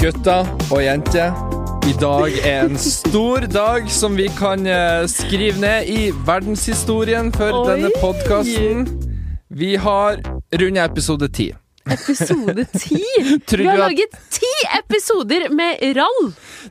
gutter og jenter. I dag er en stor dag som vi kan eh, skrive ned i verdenshistorien for Oi. denne podkasten. Vi har runda episode ti. Episode ti! Tror Vi har du at- laget ti episoder med rall!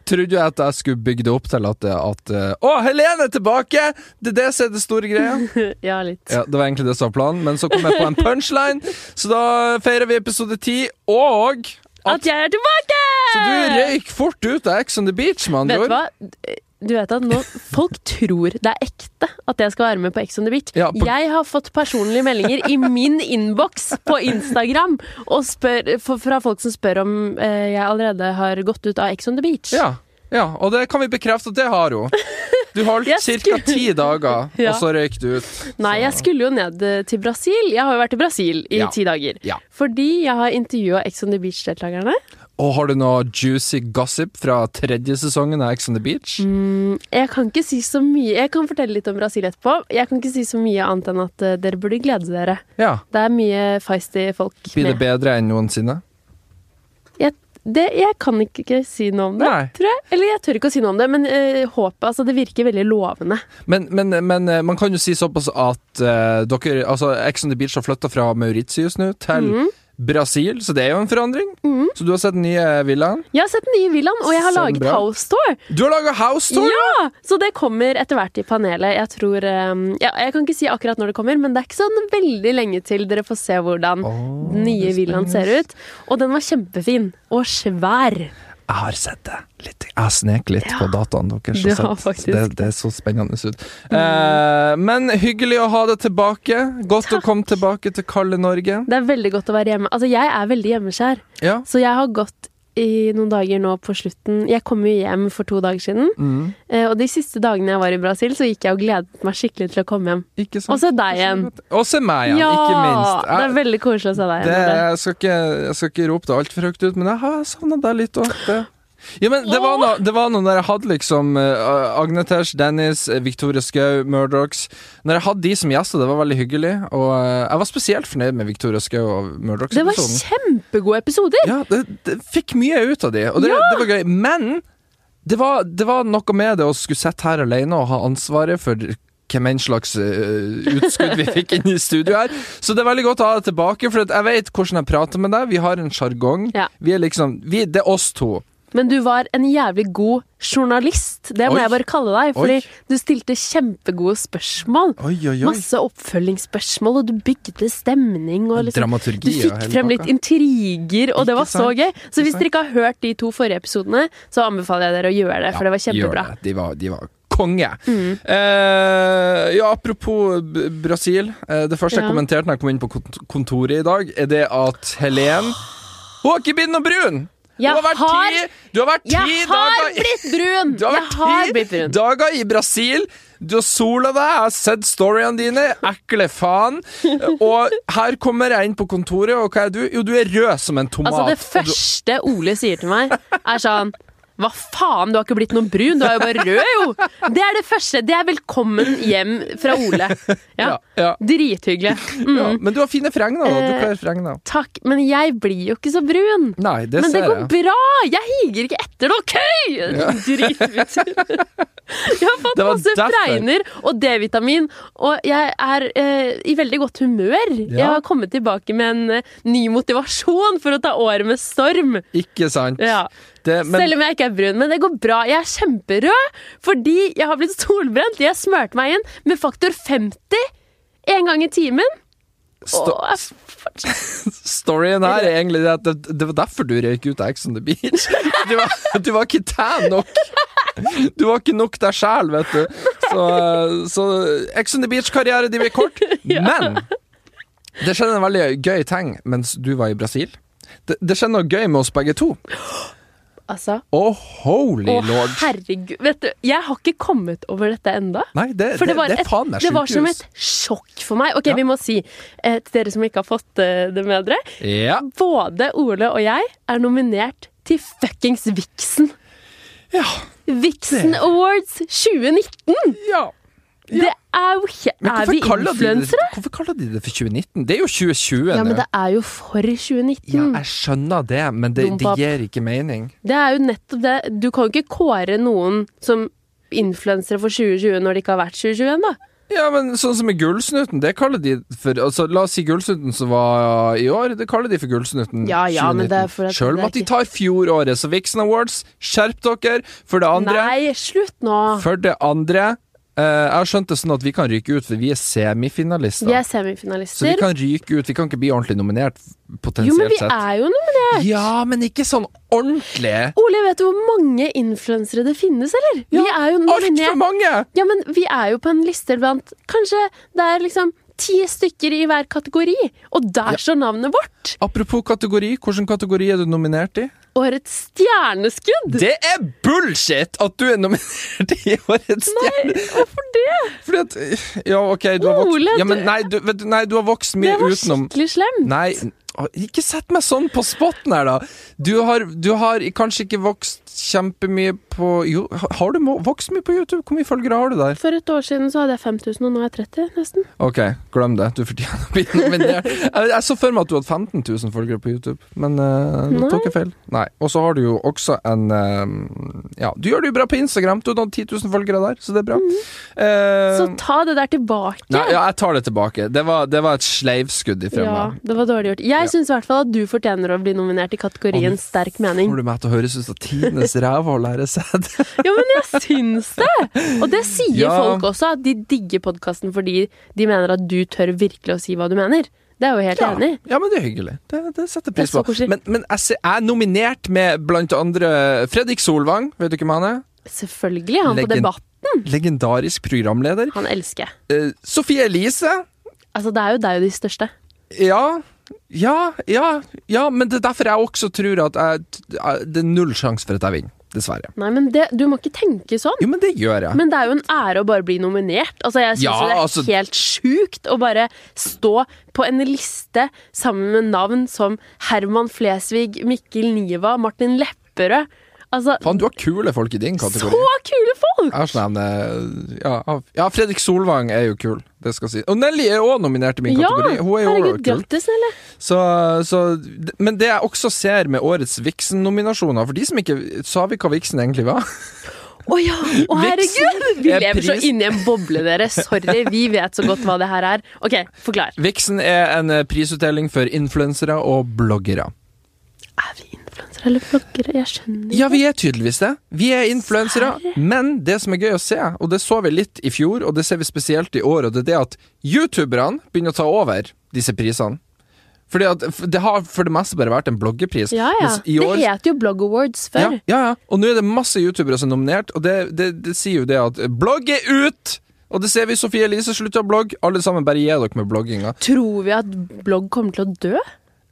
Trodde jo jeg at jeg skulle bygge det opp til at, at eh, Å, Helene er tilbake! Det er det som er det store greia. Ja, litt. Ja, Det var egentlig det som var planen, men så kom jeg på en punchline, så da feirer vi episode ti. Og At jeg er tilbake! Så du røyk fort ut av Ex on the Beach, med andre Vet du ord. hva? Du vet at nå, Folk tror det er ekte at jeg skal være med på Ex on the Beach. Ja, på- Jeg har fått personlige meldinger i min innboks på Instagram og spør, for- fra folk som spør om eh, jeg allerede har gått ut av Ex on the Beach. Ja, ja, og det kan vi bekrefte at det har hun. Du holdt Jeg ca. skulle- ti dager, Ja. og så røyk du ut. Nei, jeg skulle jo ned eh, til Brasil. Jeg har jo vært i Brasil i Ja. ti dager. Ja. Fordi jeg har intervjua Ex on the Beach-deltakerne. Og har du noe juicy gossip fra tredje sesongen av Ex on the Beach? Mm. Jeg kan ikke si så mye. Jeg kan fortelle litt om Brasil etterpå. Jeg kan ikke si så mye annet enn at eh, dere burde glede dere. Ja. Det er mye feisty folk Blir det med. bedre enn noensinne? Jeg, det, jeg kan ikke, ikke si noe om det, Nei. tror jeg. Eller jeg tør ikke å si noe om det, men eh, håpet altså, Det virker veldig lovende. Men, men, men eh, man kan jo si såpass at eh, dere, altså Ex on the Beach har flytta fra Mauritius nå til Mm. Brasil, så det er jo en forandring. Så du har sett den nye villaen. Jeg har sett den nye villaen, og jeg har Så laget bra. House Tour. Du har laga House Tour! Ja! Så det kommer etter hvert i panelet. Jeg tror eh, ja, Jeg kan ikke si akkurat når det kommer, men det er ikke sånn veldig lenge til dere får se hvordan Åh, den nye villaen ser ut. Og den var kjempefin. Og svær. Jeg har sett det. Litt. Jeg har sneket litt på dataene deres. du og sett. har faktisk Mm. det, det er så spennende ut. Eh, men hyggelig å ha deg tilbake. Godt å komme tilbake til kalde Norge. Det er veldig godt å være hjemme. Altså, jeg er veldig hjemmeskjær, Ja. så jeg har gått i noen dager nå på slutten. Jeg kom jo hjem for to dager siden, Mm. eh, og de siste dagene jeg var i Brasil, så gikk jeg og gledet meg skikkelig til å komme hjem. Ikke sant? Og så deg igjen. Og så meg igjen, Ja! ikke minst. Det er veldig koselig å se deg Det, igjen. jeg, skal ikke, jeg skal ikke rope det altfor høyt ut, men jeg har savna deg litt òg. Ja, men det var, noe, det var noe når jeg hadde liksom eh, Agnetesh, Dennis, eh, Victoria Skau, Murdochs Når jeg hadde de som gjester, det var veldig hyggelig. Og eh, jeg var spesielt fornøyd med Victoria Skau og Murdochs. Det var episoden. kjempegode episoder! Ja, det, det fikk mye ut av de, og det, det var gøy. Men det var, det var noe med det å skulle sitte her alene og ha ansvaret for hvem enn slags øh, utskudd vi fikk inn i studio her. Så det er veldig godt å ha deg tilbake, for at jeg vet hvordan jeg prater med deg. Vi har en sjargong. Ja. Vi er liksom vi, Det er oss to. Men du var en jævlig god journalist, det må Oi. jeg bare kalle deg. Fordi Oi. du stilte kjempegode spørsmål. Oi, oi, oi. Masse oppfølgingsspørsmål, og du bygde stemning. Og liksom, du Dramaturgi og fikk hele frem pakka. litt intriger, og det Ikke var så sant? gøy. Så hvis sant? dere ikke har hørt de to forrige episodene, så anbefaler jeg dere å gjøre det, for det var Ja, gjør kjempebra. Mm. det. De var, de var konge. Eh, ja, apropos B- Brasil. Eh, det første jeg Ja. kommenterte når jeg kom inn på kont- kontoret i dag, er det at Helen Hun har ikke blitt noe brun! Jeg hun har vært har- ti, du har vært ti Jeg har dager blitt brun! du har Jeg har vært blitt ti brun. dager i Brasil. Du har sola deg, jeg har sett storyene dine. Ekle faen. Og her kommer jeg inn på kontoret, og hva er du? Jo, du er rød som en tomat. Altså, og det du- første Ole sier til meg, er sånn hva faen, du har ikke blitt noen brun, du er jo bare rød, jo! Det er det første. Det er velkommen hjem fra Ole. Ja. Ja, ja. Drithyggelig. Mm. ja, men du har fine fregner. da. Du Eh, kler fregner. Takk, men jeg blir jo ikke så brun. Nei, det Men det ser går jeg. bra! Jeg higer ikke etter det, OK?! Dritbitter. Jeg har fått Det var masse derfor. fregner og D-vitamin, og jeg er eh, i veldig godt humør. Jeg har kommet tilbake med en eh, ny motivasjon for å ta året med storm. Ikke sant. Ja. Det, men, Selv om jeg ikke er brun. Men det går bra. Jeg er kjemperød fordi jeg har blitt solbrent. Jeg smurte meg inn med faktor 50 én gang i timen. Sto- Og jeg fortsatt storyen her er egentlig det at det, det var derfor du røyk ut av Ex on the Beach. Du var, du var ikke tan nok. Du var ikke nok deg sjæl, vet du. Så, så Ex on the Beach-karriere de blir kort. Men det skjedde en veldig gøy ting mens du var i Brasil. Det, det skjedde noe gøy med oss begge to. Altså, Å, holy Å, lord. herregud. Vet du, jeg har ikke kommet over dette enda. Nei, det, For det var, det, det er faen et, meg det var som sjukehus. et sjokk for meg. Ok, Ja. Vi må si eh, til dere som ikke har fått eh, det med dere Ja. Både Ole og jeg er nominert til fuckings Vixen. Ja. Vixen Det- Awards 2019! ja. Det er jo ikke Men Er hvorfor vi kaller de det- influensere? Hvorfor kaller de det for 2019? Det er jo 2020 Ja, men nå. det er Mm. jo for 2019. Ja, jeg skjønner det, men det, det Dompap. gir ikke mening. Det er jo nettopp det. Du kan jo ikke kåre noen som influensere for 2020 når det ikke har vært 2021, da. Ja, men sånn som med Gullsnuten, det kaller de for altså, La oss si Gullsnuten som var uh, i år, det kaller de for Gullsnuten Ja, ja, men det er for at Sjøl det er om at de ikke- tar fjoråret, så Vixen Awards, skjerp dere! For det andre Nei, slutt nå! For det andre eh, Jeg har skjønt det sånn at vi kan ryke ut, for vi er semifinalister. Vi er Så vi semifinalister. kan ryke ut. Vi kan ikke bli ordentlig nominert, Jo, men potensielt vi sett. er jo nominert! Ja, men ikke sånn ordentlig! Ole, vet du hvor mange influensere det finnes, eller? Ja, vi er jo Altfor nominert. mange! Ja, men vi er jo på en liste blant Kanskje det er liksom ti stykker i hver kategori, og der står navnet vårt! Apropos kategori, hvilken kategori er du nominert i? Årets stjerneskudd! Det er bullshit at du er nominert i Årets stjerne! Hvorfor det? Fordi at Ja, OK, du har Ole, vokst ja, du- men nei, du, vet du, nei, du har vokst Det mye var utenom skikkelig slemt. Nei, å, ikke sett meg sånn på spotten her, da. Du har, du har kanskje ikke vokst kjempemye på Jo, har du mo- vokst mye på YouTube? Hvor mye følgere har du der? For et år siden så hadde jeg 5000, og nå er jeg 30, nesten. Ok, glem det. Du fortjener å bli nominert. Jeg, jeg så for meg at du hadde 15 000 følgere på YouTube, men eh, nå tok jeg feil. Nei. Og så har du jo også en eh, Ja, du gjør det jo bra på Instagram. Du har nådd 10 000 følgere der, så det er bra. Eh, Mhm. Så ta det der tilbake. nei, ja, jeg tar det tilbake. Det var, det var et sleivskudd ifra Ja, meg. det var dårlig gjort. Jeg Ja. syns i hvert fall at du fortjener å bli nominert i kategorien sterk mening. Får du meg til å høres ut som tidenes rævhold her jeg sitter? Ja, men jeg syns det! Og det sier Ja. folk også, at de digger podkasten fordi de mener at du tør virkelig å si hva du mener. Det er jeg jo helt Ja. enig i. Ja, men det er hyggelig. Det, det setter Det er pris så på. koselig. Men, men jeg, ser, jeg er nominert med blant andre Fredrik Solvang, vet du hvem han er? Selvfølgelig. Han på Legend- Debatt. Legendarisk programleder. Han elsker jeg. Eh, Sofie Elise. Altså, det er jo deg og de største. Ja. Ja, ja, ja, men det er derfor jeg også tror at jeg, jeg, det er null sjanse for at jeg vinner. Dessverre. Nei, men det, du må ikke tenke sånn. Jo, men det gjør jeg. Men det er jo en ære å bare bli nominert. Altså, jeg synes Ja, jo det er altså- helt sjukt å bare stå på en liste sammen med navn som Herman Flesvig, Mikkel Niva, Martin Lepperød. Altså, Faen, du har kule folk i din kategori. så kule folk! Jeg har sånn en, eh, ja, av- ja, Fredrik Solvang er jo kul, det skal si. Og Nelly er òg nominert i min Ja, kategori. Hun er jo også herregud, kul. grattis, Nelle. Så, så, men det jeg også ser med årets Vixen-nominasjoner For de som ikke sa vi hva Vixen egentlig var. Å ja, å herregud! Vixen Vi er lever så pris- inni en boble, dere. Sorry, vi vet så godt hva det her er. Ok, forklar. Vixen er en eh, prisutdeling for influensere og bloggere. Er vi influensere eller bloggere? Jeg skjønner Ja, vi er tydeligvis det. Vi er influensere. Men det som er gøy å se, og det så vi litt i fjor, og det ser vi spesielt i år, og det er det at youtuberne begynner å ta over disse prisene. Fordi at f- Det har for det meste bare vært en bloggepris. Ja, ja. Mens i Det år- het jo Blog Awards Ja, før. ja, ja. Og nå er det masse youtubere som er nominert, og det, det, det sier jo det at blogg er ut! Og det ser vi. Sofie Elise slutta å blogge. Alle sammen, bare gi dere med blogginga. Tror vi at blogg kommer til å dø?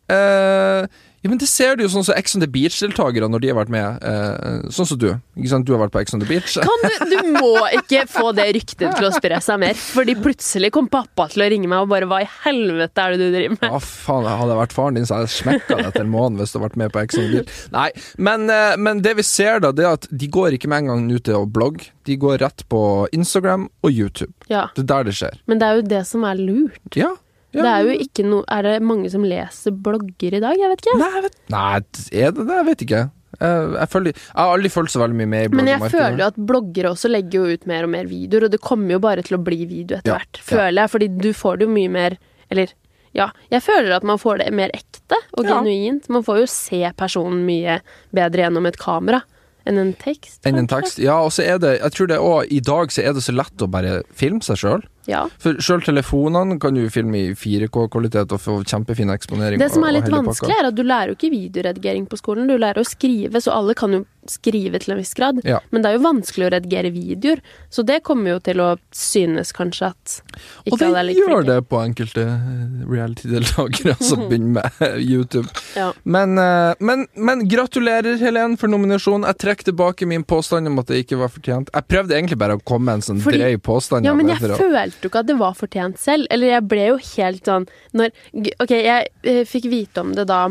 Eh, ja, men det ser du jo sånn som Ex on the Beach-deltakere når de har vært med. eh, sånn som du. Ikke sant? Du har vært på Ex on the Beach. Kan du, du må ikke få det ryktet til å spre seg mer. Fordi plutselig kom pappa til å ringe meg og bare Hva i helvete er det du driver med? Ja, faen, Hadde jeg vært faren din, så hadde jeg smekka deg etter en måned hvis du hadde vært med på Ex on the Beach. Nei, men, eh, men det vi ser, da, det er at de går ikke med en gang ut til å blogge. De går rett på Instagram og YouTube. Ja, Det er der det skjer. Men det er jo det som er lurt. Ja. ja. Det er jo ikke noe Er det mange som leser blogger i dag? Jeg vet ikke. Nei, jeg vet, nei, er det det? Jeg vet ikke. Jeg, jeg, føler, jeg har aldri følt så veldig mye med i Men jeg føler bloggmarkedet. jo at bloggere også legger jo ut mer og mer videoer, og det kommer jo bare til å bli video etter Ja, hvert, føler jeg, fordi du får det jo mye mer Eller ja, jeg føler at man får det mer ekte og Ja. genuint. Man får jo se personen mye bedre gjennom et kamera enn en tekst. Enn en tekst. kanskje. Ja, og så er det Jeg tror det òg I dag så er det så lett å bare filme seg sjøl. Ja. For sjøl telefonene kan du filme i 4K-kvalitet og få kjempefin eksponering. Det som og- og er litt hele pakka. vanskelig, er at du lærer jo ikke videoredigering på skolen. Du lærer å skrive, så alle kan jo skrive til en viss grad. Ja. Men det er jo vanskelig å redigere videoer, så det kommer jo til å synes kanskje at ikke Og det alle er like gjør flinke. det på enkelte eh, reality-deltakere som begynner med YouTube. Ja. Men, eh, men, men gratulerer, Helen, for nominasjonen. Jeg trekker tilbake min påstand om at det ikke var fortjent. Jeg prøvde egentlig bare å komme med en sånn Fordi- drøy påstand. Ja, av men det for jeg å- følte jo ikke at det var fortjent selv. Eller jeg ble jo helt sånn når, g- Ok, jeg eh, fikk vite om det da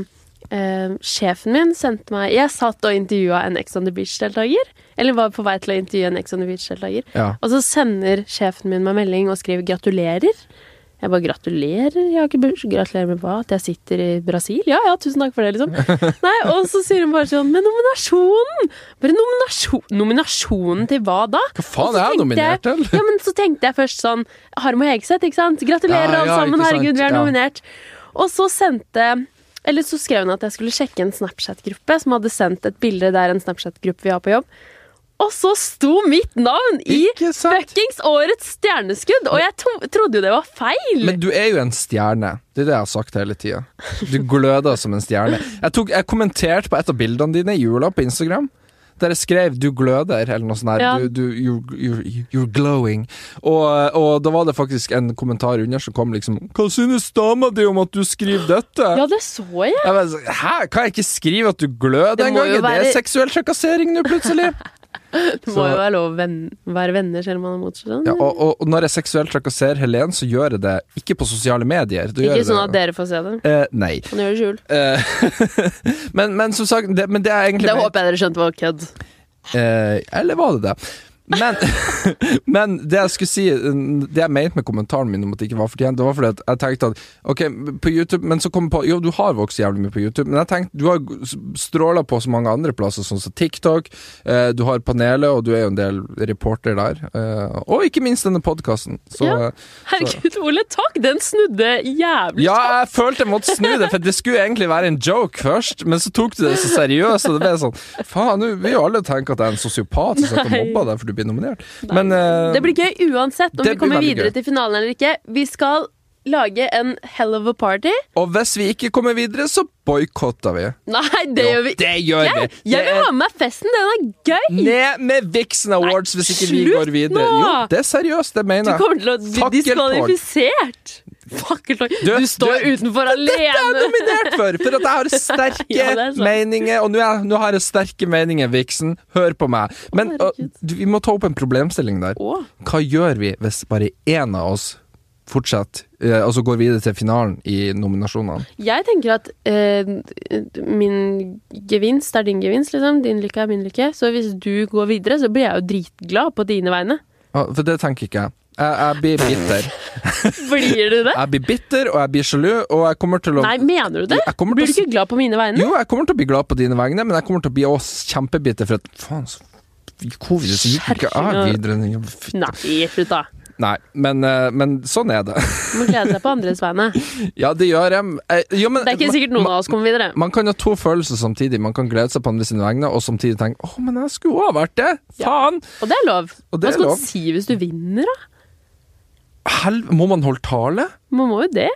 eh, sjefen min sendte meg Jeg satt og intervjua en Ex on the Beach-deltaker. Eller var på vei til å intervjue en Ex on the Beach-deltaker. Ja. Og så sender sjefen min meg melding og skriver 'gratulerer'. Jeg bare 'gratulerer'? Jeg har ikke burs. Gratulerer med hva? At jeg sitter i Brasil? Ja ja, tusen takk for det, liksom. Nei, Og så sier hun bare sånn 'med nominasjonen'! Bare nominasjon, nominasjonen til hva da? Hva faen er Og så jeg tenkte jeg- nominert til? Ja, men så tenkte jeg først sånn Harm og Hegseth, ikke sant? Gratulerer, Ja, ja, alle sammen! ikke sant, Herregud, vi er ja. nominert! Og så sendte Eller så skrev hun at jeg skulle sjekke en Snapchat-gruppe som hadde sendt et bilde der en Snapchat-gruppe vi har på jobb. Og så sto mitt navn i Ikke sant? fuckings årets stjerneskudd! Og jeg to trodde jo det var feil! Men du er jo en stjerne. Det er det jeg har sagt hele tida. Du gløder som en stjerne. Jeg, tok, jeg kommenterte på et av bildene dine i jula på Instagram. Der jeg skrev 'du gløder' eller noe sånt. her Ja. du, du, you're, you're, you're glowing. Og, og da var det faktisk en kommentar under som kom liksom 'Hva synes dama di om at du skriver dette?' ja, det så jeg! Jeg bare, så- Hæ? Kan jeg ikke skrive at du gløder Det må engang? jo Er det være- seksuell trakassering nå, plutselig? Det må Så- jo være lov å venn være venner selv om man er motsatt. Ja, og, og, og når jeg seksuelt trakasserer Helen, så gjør jeg det ikke på sosiale medier. Da gjør ikke jeg sånn at det. dere får se det. Eh, nei. Man gjør det i skjul. Eh, men, men som sagt det, men det er egentlig Det håper jeg dere skjønte var kødd. Eh, Eller var det det? Men, men det jeg skulle si Det jeg mente med kommentaren min om at det ikke var fortjent, det var fordi at jeg tenkte at Ok, på YouTube Men så kom jeg på Jo, du har vokst jævlig mye på YouTube, men jeg tenkte du har stråla på så mange andre plasser, sånn som TikTok. eh, du har panelet, og du er jo en del reporter der. eh, og ikke minst denne podkasten. Så eh, Ja. Herregud, Ole, takk! Den snudde jævlig. Ja, jeg følte jeg måtte snu det, for det skulle egentlig være en joke først, men så tok du det så seriøst, og det ble sånn Faen, nå vil jo alle tenke at jeg er en sosiopat som sitter og Nei. mobber deg for du blir nominert. Men eh, Det blir gøy uansett om det vi kommer blir veldig videre gøy. til finalen eller ikke. Vi skal lage en hell of a party. Og hvis vi ikke kommer videre, så boikotter vi. Nei, det Jo, gjør vi ikke! Det gjør vi. Jeg, jeg vil ha med meg festen, den er gøy! Det er Ned med Vixen Awards hvis ikke vi slutt går videre. nå! Jo, det er seriøst, det Du mener jeg. kommer til å bli Fakkeltog. diskvalifisert! Fakkeltog. Du, Du- står du- utenfor Jeg er alene! nominert for, for at jeg har sterke Ja, det er sant. meninger. Og nå er- nå har jeg sterke meninger, Vixen. Hør på meg. Men Å, herregud. eh, du, vi må ta opp en problemstilling der. Å, Hva gjør vi hvis bare én av oss fortsetter, eh, altså går videre til finalen i nominasjonene? jeg tenker at eh, min gevinst er din gevinst, liksom. Din lykke er min lykke. Så hvis du går videre, så blir jeg jo dritglad på dine vegne. Ah, For det tenker ikke jeg. Jeg, jeg blir bitter. Blir du det? Jeg blir bitter, og jeg blir sjalu, og jeg kommer til å Nei, mener du det? Jeg kommer Blir til du å ikke glad på mine vegne? Jo, jeg kommer til å bli glad på dine vegne, men jeg kommer til å bli også kjempebitter for at faen, så Covid, så gikk ikke jeg videre. Nei, slutt da. Nei, men, eh, men sånn er det. Du må glede deg på andres vegne. Ja, det gjør jeg. Eh, Jo, men, Det er ikke sikkert noen av oss kommer videre. Man kan ha to følelser samtidig. Man kan glede seg på andre sine vegne, og samtidig tenke 'Å, men jeg skulle òg ha vært det'. Faen! Og det er lov. Og det Hva er skal lov. du si hvis du vinner, da? Hel må man holde tale? Man må jo det.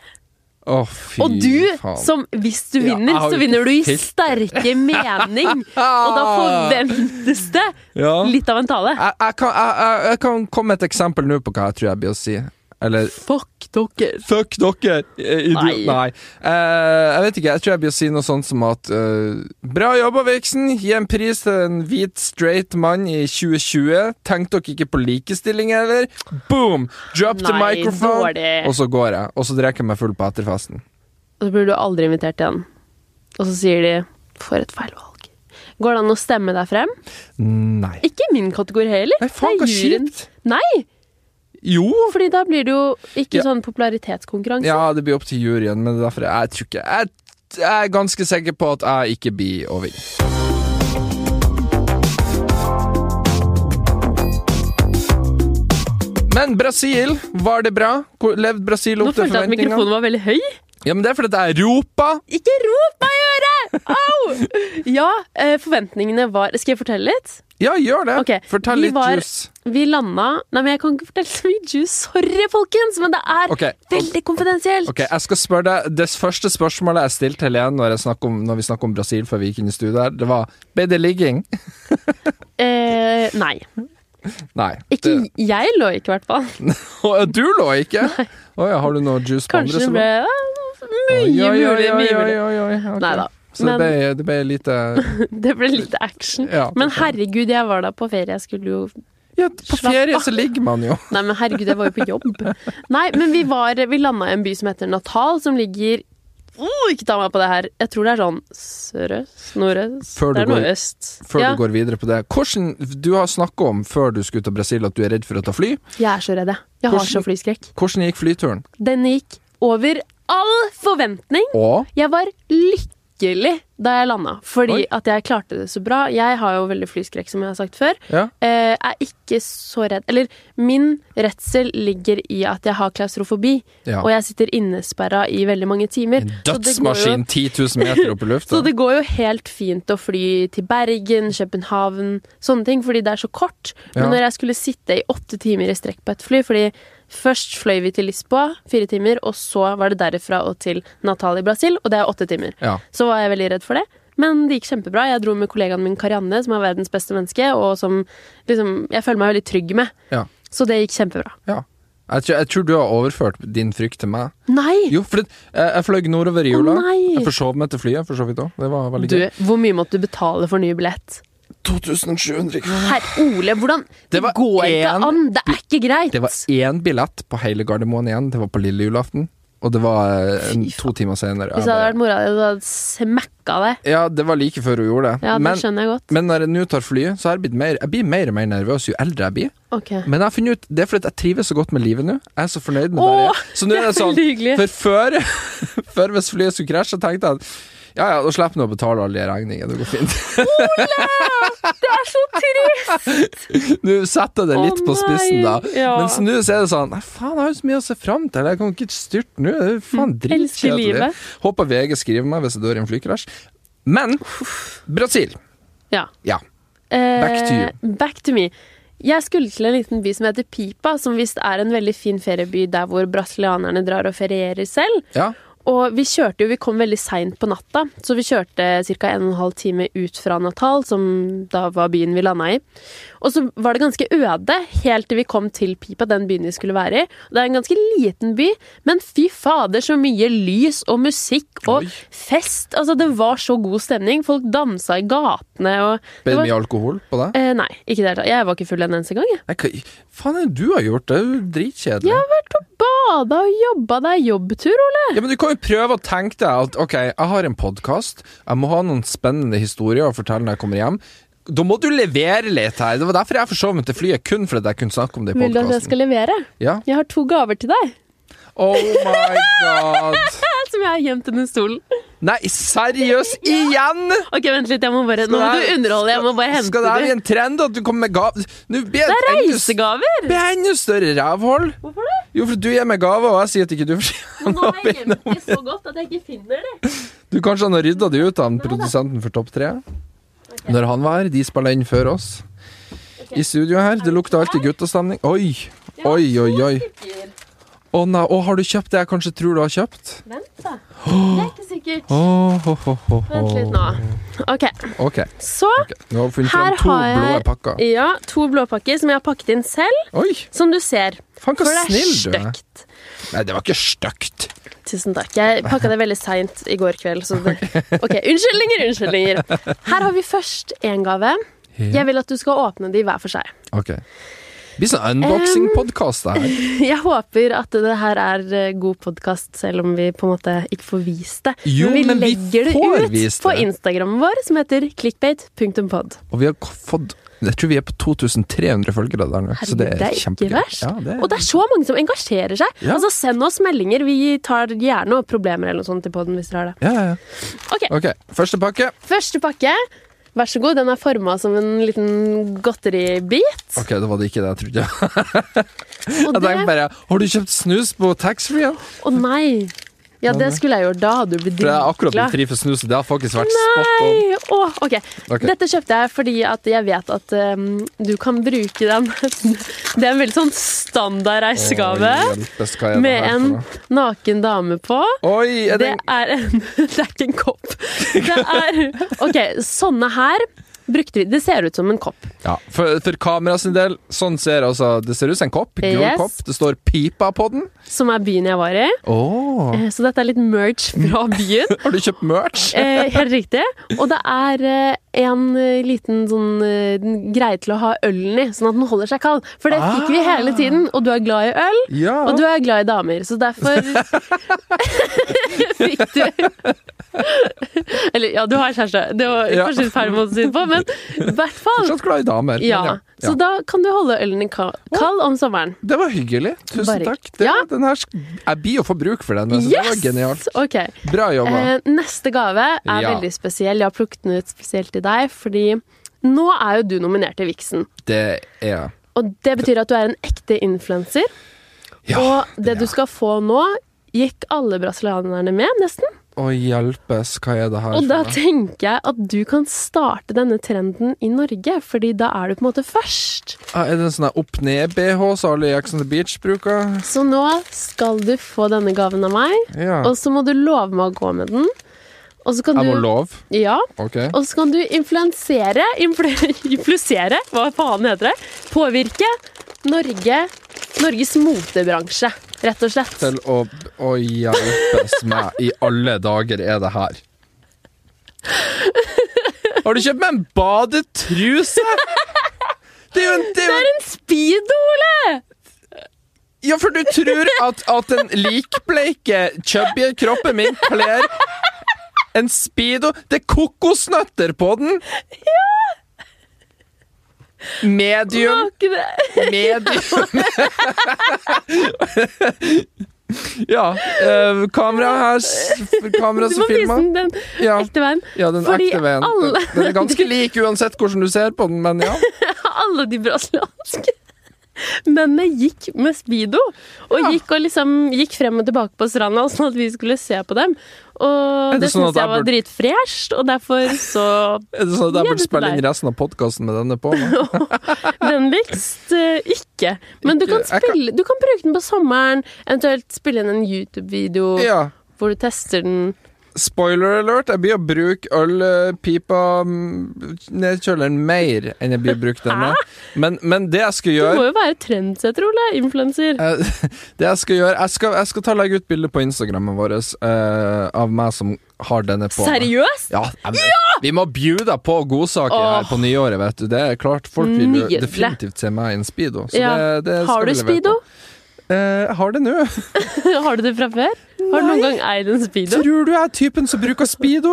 Å, fy Og du, faen. som hvis du Ja, vinner, jeg har så jo vinner du i ikke sterke mening. Og da forventes det Ja. litt av en tale. jeg, jeg, kan, jeg, jeg, jeg kan komme med et eksempel nå på hva jeg tror jeg blir å si. Eller Fuck dere. Fuck dere! eh, idiot. Nei. Nei. Eh, jeg vet ikke, jeg tror jeg blir å si noe sånt som at eh, Bra jobba, Vixen! Gi en pris til en hvit, straight mann i 2020. Tenk dere ikke på likestilling, eller? Boom! Drop the Nei, microphone! dårlig. Og så går jeg. Og så drikker jeg meg full på etterfesten. Og så blir du aldri invitert igjen. Og så sier de 'for et feil valg'. Går det an å stemme deg frem? Nei. Ikke i min kategori heller. Nei, faen, Det er hva juryen. kjipt! Nei, Jo! fordi da blir det jo ikke Ja. sånn popularitetskonkurranse. Ja, det blir opp til juryen, men det er derfor jeg, jeg tror ikke jeg, jeg er ganske sikker på at jeg ikke blir å vinne. Men Brasil, var det bra? Hvor- Levde Brasil Nå opp til følte jeg at forventningene? mikrofonen var veldig høy. Ja, men det er fordi at jeg roper! Ikke rop meg i øret! Au! Ja, eh, forventningene var Skal jeg fortelle litt? Ja, gjør det. Ok, Fortell vi litt var- juice. Vi landa Nei, men jeg kan ikke fortelle så mye juice. Sorry, folkens, men det er Ok. veldig konfidensielt. Ok, jeg skal spørre deg Det første spørsmålet jeg stilte Helene når, jeg snakket om, når vi snakket om Brasil før vi gikk inn i studio her, det var Ble det ligging? Eh, nei. Nei. Ikke, det- jeg lå ikke, i hvert fall. Å, Du lå ikke? Å ja, har du noe juice på andre? Kanskje det som- ble ja, mye mulig. Mye mulig. Neida. Så det Men- ble, det ble lite Det ble litt action. Ja, Men herregud, jeg var da på ferie. Jeg skulle jo ja, På Slapp ferie av. så ligger man jo. Nei, men herregud, jeg var jo på jobb. Nei, men vi, var- vi landa i en by som heter Natal, som ligger oh, ikke ta meg på det her. Jeg tror det er sånn sørøst, nordøst Før du Det er noe går- øst. Før ja. du går videre på det. Hvordan, du har snakka om før du skulle til Brasil at du er redd for å ta fly. Jeg er så redd, jeg. Jeg har Hvordan- så flyskrekk. Hvordan gikk flyturen? Den gikk over all forventning. Og Jeg var lykkelig da jeg landa, fordi Oi. at jeg klarte det så bra. Jeg har jo veldig flyskrekk, som jeg har sagt før. Ja. Eh, er ikke så redd Eller min redsel ligger i at jeg har klaustrofobi, Ja. og jeg sitter innesperra i veldig mange timer. en Så det går jo- dødsmaskin 10 000 meter opp i lufta. Så det går jo helt fint å fly til Bergen, København, sånne ting, fordi det er så kort. Men Ja. når jeg skulle sitte i åtte timer i strekk på et fly, fordi først fløy vi til Lisboa, fire timer, og så var det derifra og til Natal i Brasil, og det er åtte timer. Ja. Så var jeg veldig redd for det. Men det gikk kjempebra. Jeg dro med kollegaen min Karianne, som er verdens beste menneske, og som liksom, jeg føler meg veldig trygg med. Ja. Så det gikk kjempebra. ja. Jeg, tror, jeg tror du har overført din frykt til meg. Nei! Jo, for det, jeg, jeg fløy nordover i jula. nei. jeg forsov meg til flyet, for så vidt òg. Det var veldig Du, gøy. hvor mye måtte du betale for ny billett? 2700 kroner. Herr Ole, hvordan Det, Det var går ikke en- an! Det er ikke greit! Det var én billett på hele Gardermoen igjen. Det var på lille julaften. Og det var eh, en, Fy faen. to timer senere. Hvis Jeg det bare- hadde vært mora di, hadde jeg smekka deg. Ja, det var like før hun gjorde det. Ja, det men, skjønner jeg godt. men når jeg nå tar flyet, så har jeg blitt mer Jeg blir mer og mer nervøs jo eldre jeg blir. Ok. Men jeg har funnet ut det er fordi at jeg trives så godt med livet nå. Jeg er så fornøyd med det. Åh, jeg er. Så nå er det sånn veldig hyggelig. For før, før hvis flyet skulle krasje, så tenkte jeg at ja ja, da slipper jeg å betale alle de regningene. Det går fint. Det er så trist! Nå setter jeg det Å litt på spissen, da. nei, ja. Men så nå så er det sånn Nei, faen, jeg har jo så mye å se fram til. Jeg kan jo ikke styrte nå. Det er jo faen Mm. elsker dritkjedelig. livet. Håper VG skriver meg hvis jeg dør i en flykrasj. Men Brasil. Ja. Ja. Eh, Back to you. Back to me. Jeg skulle til en liten by som heter Pipa, som visst er en veldig fin ferieby der hvor brasilianerne drar og ferierer selv. ja. Og vi kjørte jo, vi kom veldig seint på natta, så vi kjørte ca. 1 12 time ut fra Natal, som da var byen vi landa i. Og så var det ganske øde helt til vi kom til Pipa, den byen vi skulle være i. Og det er en ganske liten by, men fy fader, så mye lys og musikk og Oi. fest. Altså, det var så god stemning. Folk dansa i gatene og det Ble det var, mye alkohol på deg? eh, Nei, ikke i det hele tatt. Jeg var ikke full en eneste gang, jeg. Nei, hva faen er det du har gjort? Det er jo dritkjedelig. Ja. Bada og jobba, det er jobbtur, Ole. men du kan jo prøve å tenke deg at ok, jeg har en podkast, jeg må ha noen spennende historier å fortelle når jeg kommer hjem. Da må du levere litt her. Det var derfor jeg forsov meg til flyet, kun fordi jeg kunne snakke om det i Vil du at jeg podkasten. skal levere? Ja. Jeg har to gaver til deg. Oh my god. Som jeg har gjemt under stolen. Nei, seriøst? Igjen?! Ok, vent litt, jeg må bare, nå må Skal det du her- underholde, jeg må bare hente Skal det her bli det. en trend at du kommer med gav... Nå blir jeg Det er et enda s- reisegaver! blir jeg enda større rævhold. Hvorfor det? Jo, for du gir meg gave, og jeg sier at ikke du får Men nå har jeg gjemt det så godt at jeg ikke finner det. Du, Kanskje han har rydda det ut, han produsenten for Topp 3. Når han var her. De spiller inn før oss. I studio her. Det lukter alltid guttastemning. Oi, oi, oi. oi. Å nei, å, har du kjøpt det jeg kanskje tror du har kjøpt? Vent, da. Det er ikke sikkert. Åh, ho, ho, ho, ho. Vent litt nå. Ok, Ok, så ok. Nå har vi funnet Her fram to har jeg- blå pakker. Ja, to blåpakker som jeg har pakket inn selv, Oi! som du ser. Faen, For så det er snill du er. stygt. Nei, det var ikke stygt. Tusen takk. Jeg pakka det veldig seint i går kveld. Så det... Ok, unnskyldninger, unnskyldninger. Her har vi først én gave. Jeg vil at du skal åpne de hver for seg. Ok. Det blir sånn unboxing-podkast, det her. Jeg håper at det her er eh, god podkast, selv om vi på en måte ikke får vist det. Jo, men vi legger får det vist ut på det. Instagrammen vår, som heter clickbait.pod. Og vi har k- fått Jeg tror vi er på 2300 følgere der nå. Så Herregud, det er, ikke kjempegøy. verst. Ja, det er- Og det er så mange som engasjerer seg. Ja. Altså, Send oss meldinger. Vi tar gjerne opp problemer eller noe sånt til poden hvis dere har det. ja, ja, ja. Ok, Ok, første pakke. Første pakke. Vær så god. Den er forma som en liten godteribit. Ok, da var det ikke det jeg trodde. Jeg Og tenkte det bare Har du kjøpt snus på taxfree-en? Å nei! Ja, det skulle jeg gjort. Da hadde du blitt For jeg er akkurat dritglad. blitt fri for snus, og det har faktisk vært spot on. Nei! Åh, ok. Ok. Dette kjøpte jeg fordi at jeg vet at um, du kan bruke den. Det er en veldig sånn standard reisegave Å, hjelpes, hva er det med her en for noe? naken dame på. Oi, er det Det er en Det er ikke en kopp. Det er Ok, sånne her. brukte vi Det ser ut som en kopp. Ja, for, for kamera sin del, sånn ser altså Det ser ut som en kopp. Gul Yes. kopp. Det står 'Pipa' på den. Som er byen jeg var i. Oh. Eh, Så dette er litt merch fra byen. Har du kjøpt merch? Eh, helt riktig. Og det er eh, en eh, liten sånn eh, den- greie til å ha ølen i, sånn at den holder seg kald. For det fikk vi Ah. hele tiden. Og du er glad i øl, Ja. og du er glad i damer. Så derfor fikk du Eller ja, du har kjæreste. Det var Ja. kanskje feil måte å si det på, men i hvert fall. Fortsatt glad i damer. men Ja. Så da kan du holde ølen din ka- kald om sommeren. Det var hyggelig. Tusen Bare- takk. Det, Ja. den her, sk- jeg blir jo for bruk for den. Altså. Det var genialt. Ok. Bra jobba. Eh, neste gave er Ja. veldig spesiell. Jeg har plukket den ut spesielt til deg, fordi nå er jo du nominert til Vixen. det er Og det betyr at du er en ekte influenser. Ja. og det du ja. skal få nå, gikk alle brasilianerne med, nesten. Å hjelpes, hva er det her? Og for da noe? tenker jeg at du kan starte denne trenden i Norge, fordi da er du på en måte først. Ah, er det en sånn her opp-ned-BH som alle i Ex on the Beach bruker? Så nå skal du få denne gaven av meg, Ja. og så må du love meg å gå med den. Og så kan Jeg må du love. Ja. Ok. Og så kan du influensere influ, Influsere, hva faen heter det? Påvirke Norge Norges motebransje, rett og slett. Til å Å hjelpes meg. I alle dager er det her. Har du kjøpt meg en badetruse? Det er jo en, det er jo en En speedo, Ole! Ja, for du tror at, at den likbleike, chubby kroppen min kler en speedo Det er kokosnøtter på den! Var Medium, ikke det? medium Ja. eh, kamera her s- Kamera Du som må vise filmer. den den Ja. ekte veien. Ja, den Fordi ekte veien. Den, alle- den er ganske lik uansett hvordan du ser på den, men ja. Alle de brasilianske mennene gikk med speedo. Og Ja. gikk, og liksom, gikk frem og tilbake på stranda sånn at vi skulle se på dem. Og Er det, det synes sånn at jeg jeg var burde- dritfresht, og derfor så Er det sånn at jeg Ja, burde det er spille inn deg. resten av podkasten med denne på? nå? Vennligst eh, ikke. Men du Ikke. kan, Jeg kan- spille, du kan bruke den på sommeren, eventuelt spille inn en YouTube-video Ja. hvor du tester den. Spoiler alert, jeg blir å bruke ølpipa mm, nedkjøleren mer enn jeg blir å bruke den med. Men, men det jeg skal Du gjøre må jo være trendsetter, Ole. Influenser. eh, Det jeg skal gjøre Jeg skal, jeg skal ta og legge ut bilde på Instagrammen vår eh, av meg som har denne på. meg. Seriøst? Ja, jeg- Vi må bjuda på godsaker her på nyåret, vet du. Det er klart, Folk vil jo Nydelig. definitivt se meg i en speedo. Så Ja. det, det skal Har du vi levere speedo? på. Eh, jeg har det nå. Har du det fra før? Har du noen gang eid en speedo? Tror du jeg er typen som bruker speedo?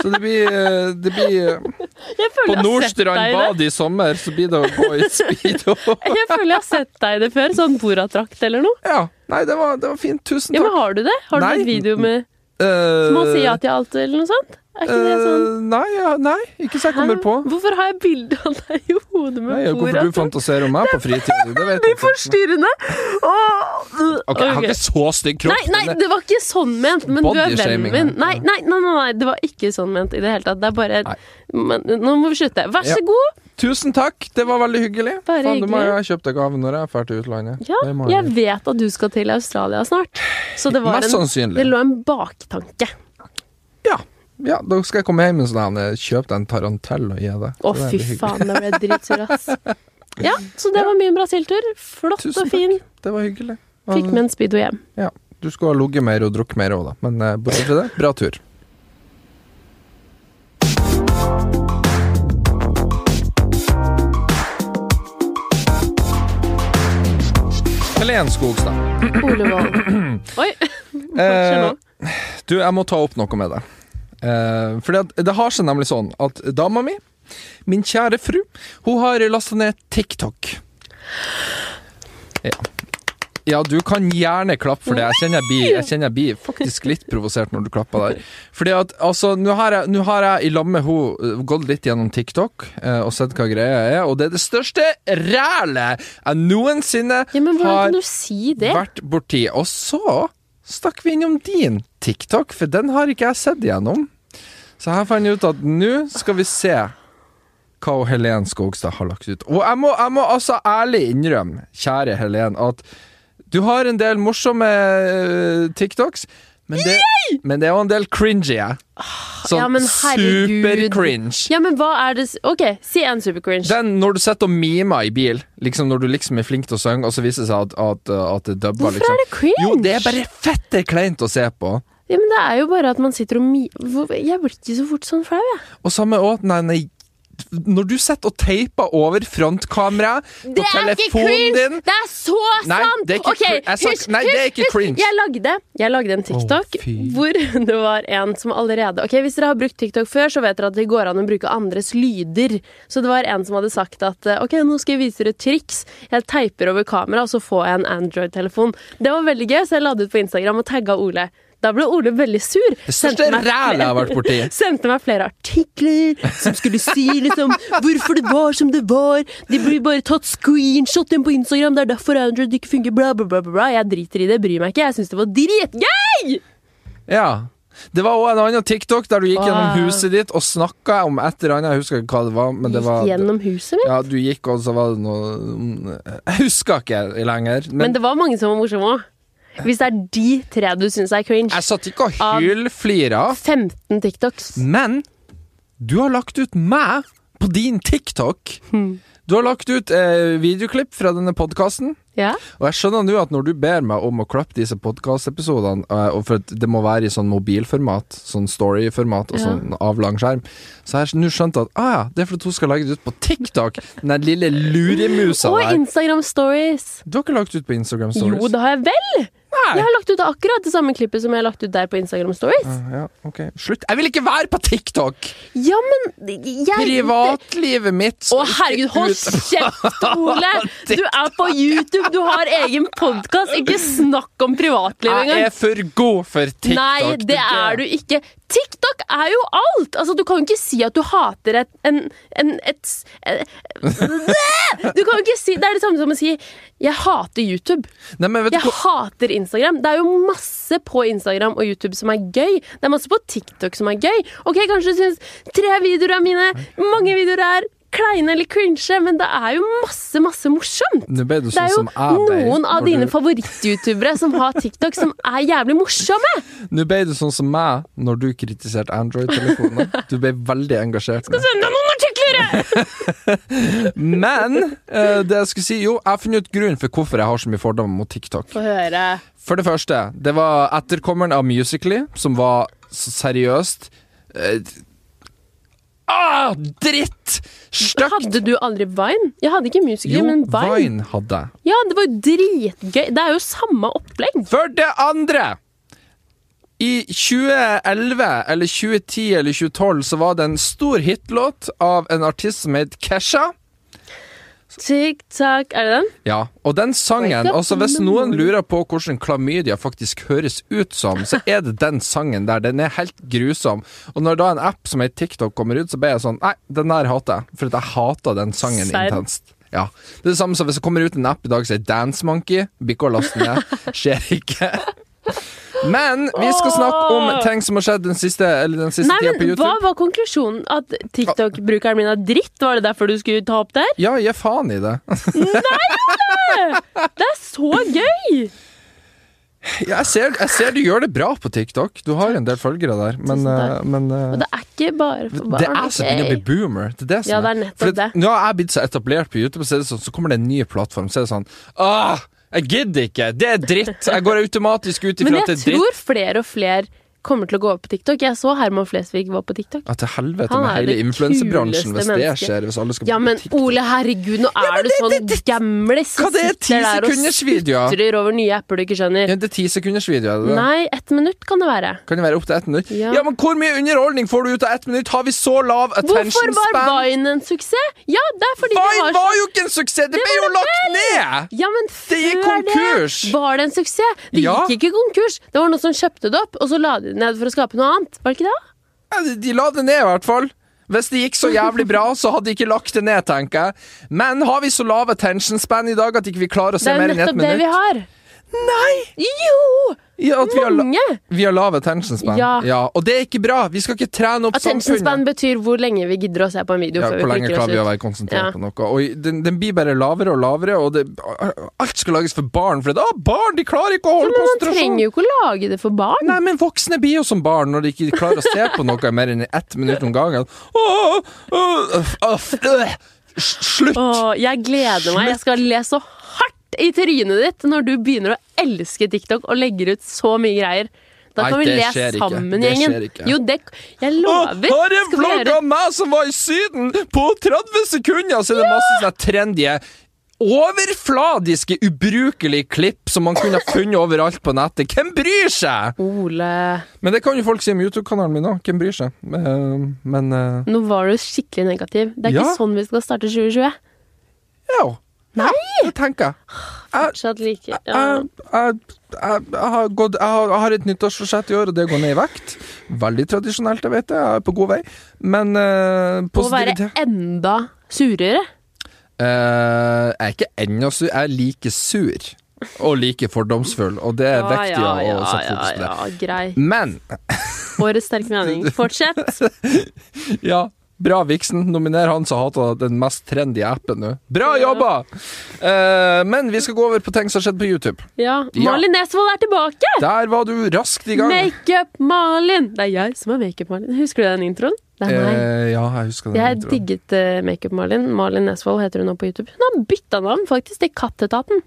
Så det blir, eh, det blir eh, Jeg føler På jeg har sett deg Nordstrand i det. bad i sommer, så blir det å gå i speedo. Jeg føler jeg har sett deg i det før, sånn Borat-drakt eller noe. Ja, nei, det var, det var fint. Tusen Ja, men takk. Har du det? Har du Nei. en video med Eh, Man sier ja til alt eller noe sånt? Er ikke det eh, sånn? Nei, ja, nei, ikke så jeg kommer Hæ? på. Hvorfor har jeg bilde av deg i hodet med Nei, hvorfor du Borat? fantaserer om meg på fritiden, det vet jeg Det er ikke. forstyrrende! Åh, Ok, jeg har ok. ikke så stygg Nei, kropp. nei, men det- det var ikke sånn ment, men du er vennen Bodyshaming her. min. Nei, nei, nei, nei, nei, det var ikke sånn ment i det hele tatt. Det er bare Nei. men, Nå må vi slutte. Vær Ja. så god! Tusen takk, det var veldig hyggelig. Bare Faen, du må hyggelig. jo ha kjøpt deg gave når jeg drar til utlandet. Ja, Det må jeg jeg. vet at du skal til Australia snart, så det, var Mest en, sannsynlig. det lå en baktanke. Ja. ja, da skal jeg komme hjem med sånn her, kjøp deg en tarantell og gi deg. Å, Så det fy blir hyggelig. faen, da ble jeg dritsur, ass. Ja, så det var min Brasil-tur. Flott Tusen og fin. takk. Det var hyggelig. Fikk med en speedo hjem. Ja, du skulle ha ligget mer og drukket mer òg, da. Men eh, bortsett fra det, bra tur. Helen Skogstad, Ole Wold. Oi. Fortsett Eh, nå. du, jeg må ta opp noe med deg. Eh, fordi at det har seg nemlig sånn at dama mi, min kjære fru, hun har lasta ned TikTok. Ja. ja, du kan gjerne klappe for det. Jeg kjenner jeg blir, jeg kjenner jeg blir faktisk litt provosert når du klapper der. Fordi at, altså, nå har jeg, nå har jeg i lag med henne gått litt gjennom TikTok eh, og sett hva greia er, og det er det største rælet jeg noensinne Ja, men hvordan har kan du si det? vært borti. Og så stakk vi innom din TikTok, for den har ikke jeg sett igjennom. Så her fant jeg ut at nå skal vi se hva hun Helen Skogstad har lagt ut. Og jeg må, jeg må altså ærlig innrømme, kjære Helen, at du har en del morsomme eh, TikToks, Men det, men det er jo en del cringy, jeg. Sånn Ah, ja, men herregud. super-cringe. Ja, men hva er det s- Ok, si en supercringe. Den når du sitter og mimer i bil, liksom når du liksom er flink til å synge, og så viser det seg at, at, at det dubber, Hvorfor er liksom. det cringe? Jo, det er bare fette kleint å se på. Ja, men det er jo bare at man sitter og mi... Hvor- Jeg blir ikke så fort sånn flau, jeg. Og samme òg Nei, nei. Når du sitter og teiper over frontkameraet på telefonen din Det er så Nei, sant! det er ikke Ok, cr- jeg sa- hysj, nei, det er hysj, ikke hysj. cringe. Jeg lagde, jeg lagde en TikTok Å, fy. hvor det var en som allerede Ok, Hvis dere har brukt TikTok før, så vet dere at det går an å bruke andres lyder. Så det var en som hadde sagt at eh, ok, nå skal jeg vise dere et triks. Jeg teiper over kameraet, og så får jeg en Android-telefon. Det var veldig gøy, så jeg la det ut på Instagram og tagga Ole. Da ble Ole veldig sur. Det største Sendte meg- rælet jeg har vært borti. sendte meg flere artikler som skulle si liksom hvorfor det var som det var. De blir bare tatt screenshot inn på Instagram, det er derfor Android ikke fungerer, bla, bla, bla. bla, bla. Jeg driter i det, bryr meg ikke. Jeg syns det var dritgøy! Ja. Det var òg en annen TikTok der du gikk Wow. gjennom huset ditt og snakka om et eller annet. Jeg husker ikke hva det var. Men det var Gikk gjennom huset mitt. ja, du gikk, og så var det noe mm, Jeg husker ikke lenger. Men, Men det var mange som var morsomme òg. Hvis det er de tre du syns er cringe. jeg satt ikke og hylflira. 15 TikToks. Men du har lagt ut meg på din TikTok. Hmm. Du har lagt ut eh, videoklipp fra denne podkasten. Ja. Og jeg skjønner nå at når du ber meg om å klappe disse podkastepisodene, eh, og for at det må være i sånn mobilformat, sånn storyformat og Ja. sånn avlang skjerm, så har jeg nå skjønt at ah, ja, det er fordi hun skal legge det ut på TikTok, den der lille luremusa Og der. Instagram stories. Du har ikke lagt ut på Instagram Stories? Jo, det har jeg vel! Jeg Nei. Mm. har lagt ut akkurat det samme klippet som jeg har lagt ut der på Instagram stories. Ja, ok. Slutt. Jeg vil ikke være på TikTok! Ja, men jeg Privatlivet mitt Å, skal herregud, hold kjeft, Ole! Du er på YouTube, du har egen podkast. Ikke snakk om privatliv Jeg er engang. for god for TikTok. Nei, det er du ikke. TikTok er jo alt! Altså, Du kan jo ikke si at du hater et en, en, et, s- eh, Du kan jo ikke si Det er det samme som å si 'jeg hater YouTube'. Nei, men vet du Jeg hater Instagram. Det er jo masse på Instagram og YouTube som er gøy. Det er masse på TikTok som er gøy. Ok, Kanskje du syns tre videoer er mine, mange videoer er kleine eller cringe, men det er jo masse, masse morsomt. Nå ble du Det sånn er jo som jeg ble. noen av når dine du- favoritt-youtubere som har TikTok, som er jævlig morsomme. Nå ble du sånn som meg når du kritiserte Android-telefoner. Du ble veldig engasjert. nå. Send deg noen artikler! eh! jeg! Men eh, det jeg skulle si, jo, jeg har funnet ut grunnen for hvorfor jeg har så mye fordommer mot TikTok. Få høre. For det første, det var etterkommeren av Musically, som var så seriøst eh, Ah, dritt! Støkk! Hadde du aldri Vine? Jeg hadde ikke Musical.ly, Jo, men Vine. Vine hadde jeg. Ja, det var jo dritgøy. Det er jo samme opplegg. For det andre I 2011 eller 2010 eller 2012 så var det en stor hitlåt av en artist som het Kesha. TikTok, er det den? Ja, og den sangen Wake up Altså Hvis in the noen morning. lurer på hvordan klamydia faktisk høres ut som, så er det den sangen der. Den er helt grusom. Og når da en app som heter TikTok kommer ut, så ble jeg sånn Nei, den der hater jeg. For at jeg hater den sangen Serr. intenst. Ja. Det er det samme som hvis det kommer ut en app i dag som heter Dance Monkey. Bikkja laster ned. Skjer ikke. Men vi skal snakke om ting som har skjedd den siste, eller den siste Nei, tida på men YouTube. Hva var konklusjonen? At TikTok-brukeren min er dritt? Var det derfor du skulle ta opp der? Ja, gi faen i det. Det er så gøy! Jeg ser, jeg ser du gjør det bra på TikTok. Du har en del følgere der, men, Tusen takk. eh, men eh, Og det er ikke bare for barn. Det er som begynner å bli ok? boomer. Det er det som Ja, det er nettopp For at det. Nå har jeg blitt så etablert på YouTube, så, er det sånn, så kommer det en ny plattform. Så er det sånn Åh, jeg gidder ikke! Det er dritt! Jeg går automatisk ut Men ifra at det jeg er dritt. tror flere og flere kommer til å gå over på TikTok. Jeg så Herman Flesvig var på TikTok. Ja, til helvete Han med er hele det influensebransjen, hvis kuleste det mennesket. skjer. Hvis alle skal Ja, på men TikTok. Ole, herregud, nå er du sånn gamlis Hva som det er, ti sitter der og sekunders videoer? sutrer over nye apper du ikke skjønner. Ja, det er ti sekunders video, er det det? Nei, ett minutt kan det være. Kan det være opp til ett minutt? Ja. Ja. men hvor mye underholdning får du ut av ett minutt? Har vi så lav Hvorfor attention var span? Vine en suksess? Ja, det er fordi det Vine har så var jo ikke en suksess! Det ble jo lagt ned! Ja, men Det før gikk konkurs! det var det en suksess. Det Ja. gikk ikke konkurs. Det var noen som kjøpte det opp, og så la de det ned for å skape noe annet. Var det ikke det? Ja, de- De la det ned, i hvert fall. Hvis det gikk så jævlig bra, så hadde de ikke lagt det ned, tenker jeg. Men har vi så lav attention span i dag at ikke vi klarer å se Det er mer jo enn ett nettopp det minutt? vi har. Nei! Jo! Ja, at vi har, la- Sånn Mange! vi har lav attention span. Ja. Og det er ikke bra! Vi skal ikke trene opp Attention span betyr hvor lenge vi gidder å se på en video Ja, før hvor vi lenge klikker oss klarer vi å ut. være konsentrert Ja. på noe? Og den, den blir bare lavere og lavere, og det, alt skal lages for barn. For det, ah, barn de klarer ikke å Ja, holde men man konsentrasjon! trenger jo ikke å lage det for barn. Nei, men voksne blir jo som barn når de ikke klarer å se på noe i mer enn ett minutt om gangen. Åh, åh, øh, øh, øh, Slutt! Åh, jeg gleder meg. Jeg skal le så hardt i trynet ditt når du begynner å elske TikTok og legger ut så mye greier. Da Nei, kan vi det le skjer ikke. Det sammen, gjengen. skjer ikke. Jo, det Jeg Åh, lover. Har en Skal vi vlogg gjøre av meg som var i Syden! På 30 sekunder så er det masse sånne trendy Overfladiske, ubrukelige klipp som man kunne ha funnet overalt på nettet. Hvem bryr seg?! Ole Men det kan jo folk si om YouTube-kanalen min òg. Hvem bryr seg? Eh, Men eh, Nå var du skikkelig negativ. Det er Ja. ikke sånn vi skal starte 2020. ja. Nei! Det tenker jeg. Fortsatt like ja. Jeg, jeg, jeg, jeg, har gått, jeg, har, jeg har et nyttårsforsett i år, og det er å gå ned i vekt. Veldig tradisjonelt, jeg vet det. Jeg er på god vei. Men eh, Å være positivitet enda surere. Eh, Jeg er ikke ennå sur. Jeg er like sur og like fordomsfull, og det er viktig å- å sette fokus på det. ja, grei. Men Årets sterke mening. Fortsett. Ja, bra Vixen. Nominer han som hater den mest trendy appen nå. Bra Ja. jobba! Eh, men vi skal gå over på ting som har skjedd på YouTube. Ja. Ja. Malin Nesvold er tilbake! Der var du raskt i gang. Makeup-Malin! Det er jeg som er Makeup-Malin. Husker du den introen? Det er meg. Eh, ja, jeg husker den. Jeg introen. digget eh, Makeup-Malin. Malin Nesvold heter hun nå på YouTube. Hun har bytta navn, faktisk, til Kattetaten.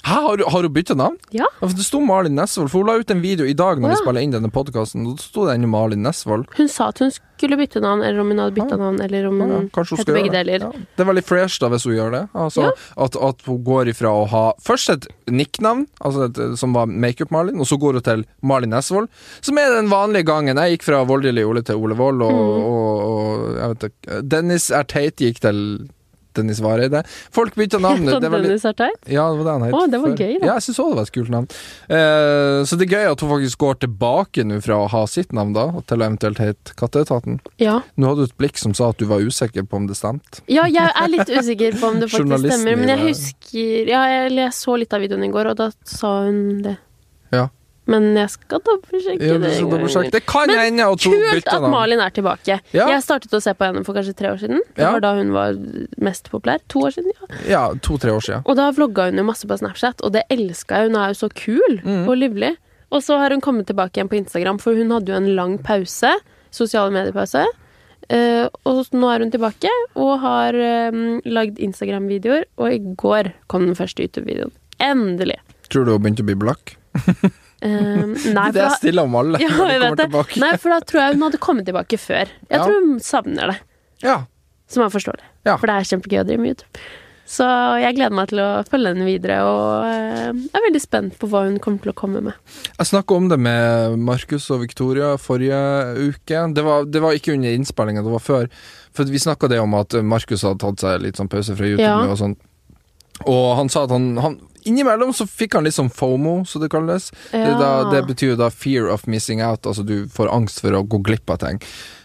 Hæ, har, du- har hun bytta navn? Ja. Ja, for Det sto Malin Nesvold, for hun la ut en video i dag når vi Å, ja. spiller inn denne podkasten. Da sto det ennå Malin Nesvold. Hun sa at hun skulle bytte navn, eller om hun hadde bytta navn, eller om Ja, ja, hun Ah. kanskje hun Mm. heter skal begge gjøre det. deler. Ja, det er veldig fresh da hvis hun gjør det. Altså, at, at hun går ifra å ha først et nicknavn, altså et, som var Makeup-Malin, og så går hun til Malin Nesvold, som er den vanlige gangen. Jeg gikk fra voldelig Ole til Ole Vold, og, Mm. og, og jeg vet ikke Dennis er teit gikk til Dennis Vareide. Folk bytta navn. Sånn Det er veldig Dennis er teit. ja, det var det han het. Å, det var før. gøy, da. Ja, jeg syns òg det var et kult navn. Eh, så det er gøy at hun faktisk går tilbake nå fra å ha sitt navn, da, til å eventuelt hete Katteetaten. Ja. Nå hadde du et blikk som sa at du var usikker på om det stemte. ja, jeg er litt usikker på om det faktisk Journalisten stemmer, men i jeg det. husker Ja, jeg, jeg så litt av videoen i går, og da sa hun det. Ja. Men jeg skal dobbeltsjekke Ja, det. det, en gang til. det kan Men hende at hun Kult bytter at navn. Malin er tilbake. Ja. Jeg startet å se på henne for kanskje tre år siden. Det Ja. var da hun var mest populær. To år siden, ja. Ja, to-tre år siden. Og da vlogga hun jo masse på Snapchat, og det elska jeg. Hun er jo så kul Mm. og livlig. Og så har hun kommet tilbake igjen på Instagram, for hun hadde jo en lang pause. Sosiale mediepause. Eh, og nå er hun tilbake og har eh, lagd Instagram-videoer, og i går kom den første YouTube-videoen. Endelig. Tror du hun begynte å bli blakk? Eh, nei, det er for da, stille om alle ja, når de jeg kommer vet det. tilbake. nei, for da tror jeg hun hadde kommet tilbake før. Jeg Ja. tror hun savner det. Ja. Så man forstår det. Ja. For det er kjempegøy å drive med YouTube. Så jeg gleder meg til å følge henne videre, og eh, jeg er veldig spent på hva hun kommer til å komme med. Jeg snakka om det med Markus og Victoria forrige uke. Det var, det var ikke under innspillinga, det var før. For vi snakka det om at Markus hadde tatt seg litt sånn pause fra YouTube Ja. og sånn. Og han sa at han, han Innimellom så fikk han litt sånn FOMO, som det kalles. Det, er da, det betyr jo da fear of missing out, altså du får angst for å gå glipp av ting.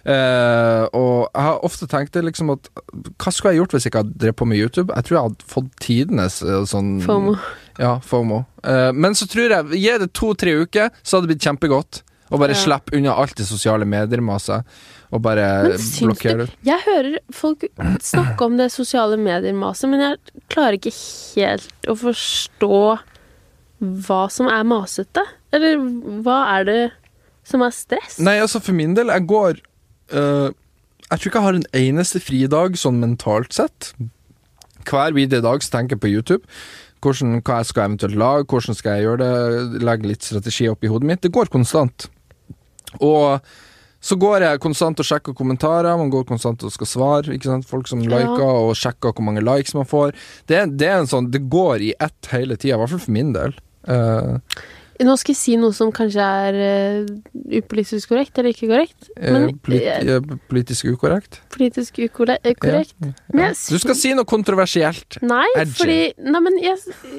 Eh, og jeg har ofte tenkt det liksom at hva skulle jeg gjort hvis jeg ikke hadde drevet på med YouTube? Jeg tror jeg hadde fått tidenes eh, sånn FOMO. Ja, FOMO. Eh, men så tror jeg, gi det to-tre uker, så hadde det blitt kjempegodt. Å bare Ja. slippe unna alt det sosiale medier-maset, og bare Men syns blokkere det ut. Jeg hører folk snakke om det sosiale medier-maset, men jeg klarer ikke helt å forstå hva som er masete. Eller hva er det som er stress? Nei, altså for min del, jeg går eh, Jeg tror ikke jeg har en eneste fridag sånn mentalt sett. Hver videre dag så tenker jeg på YouTube. Hvordan, hva jeg skal eventuelt lage, hvordan skal jeg gjøre det, legge litt strategi opp i hodet mitt. Det går konstant. Og så går jeg konstant og sjekker kommentarer, man går konstant og skal svare. Ikke sant? Folk som Ja. liker, og sjekker hvor mange likes man får. Det, er- det er en sånn, det går i ett hele tida, i hvert fall for min del. Eh, Nå skal jeg si noe som kanskje er eh, upolitisk korrekt eller ikke korrekt. eh, Men- polit, eh, politisk ukorrekt. Politisk ukorrekt. Men jeg Du skal si noe kontroversielt. Nei, Edgy. fordi Nei, men jeg,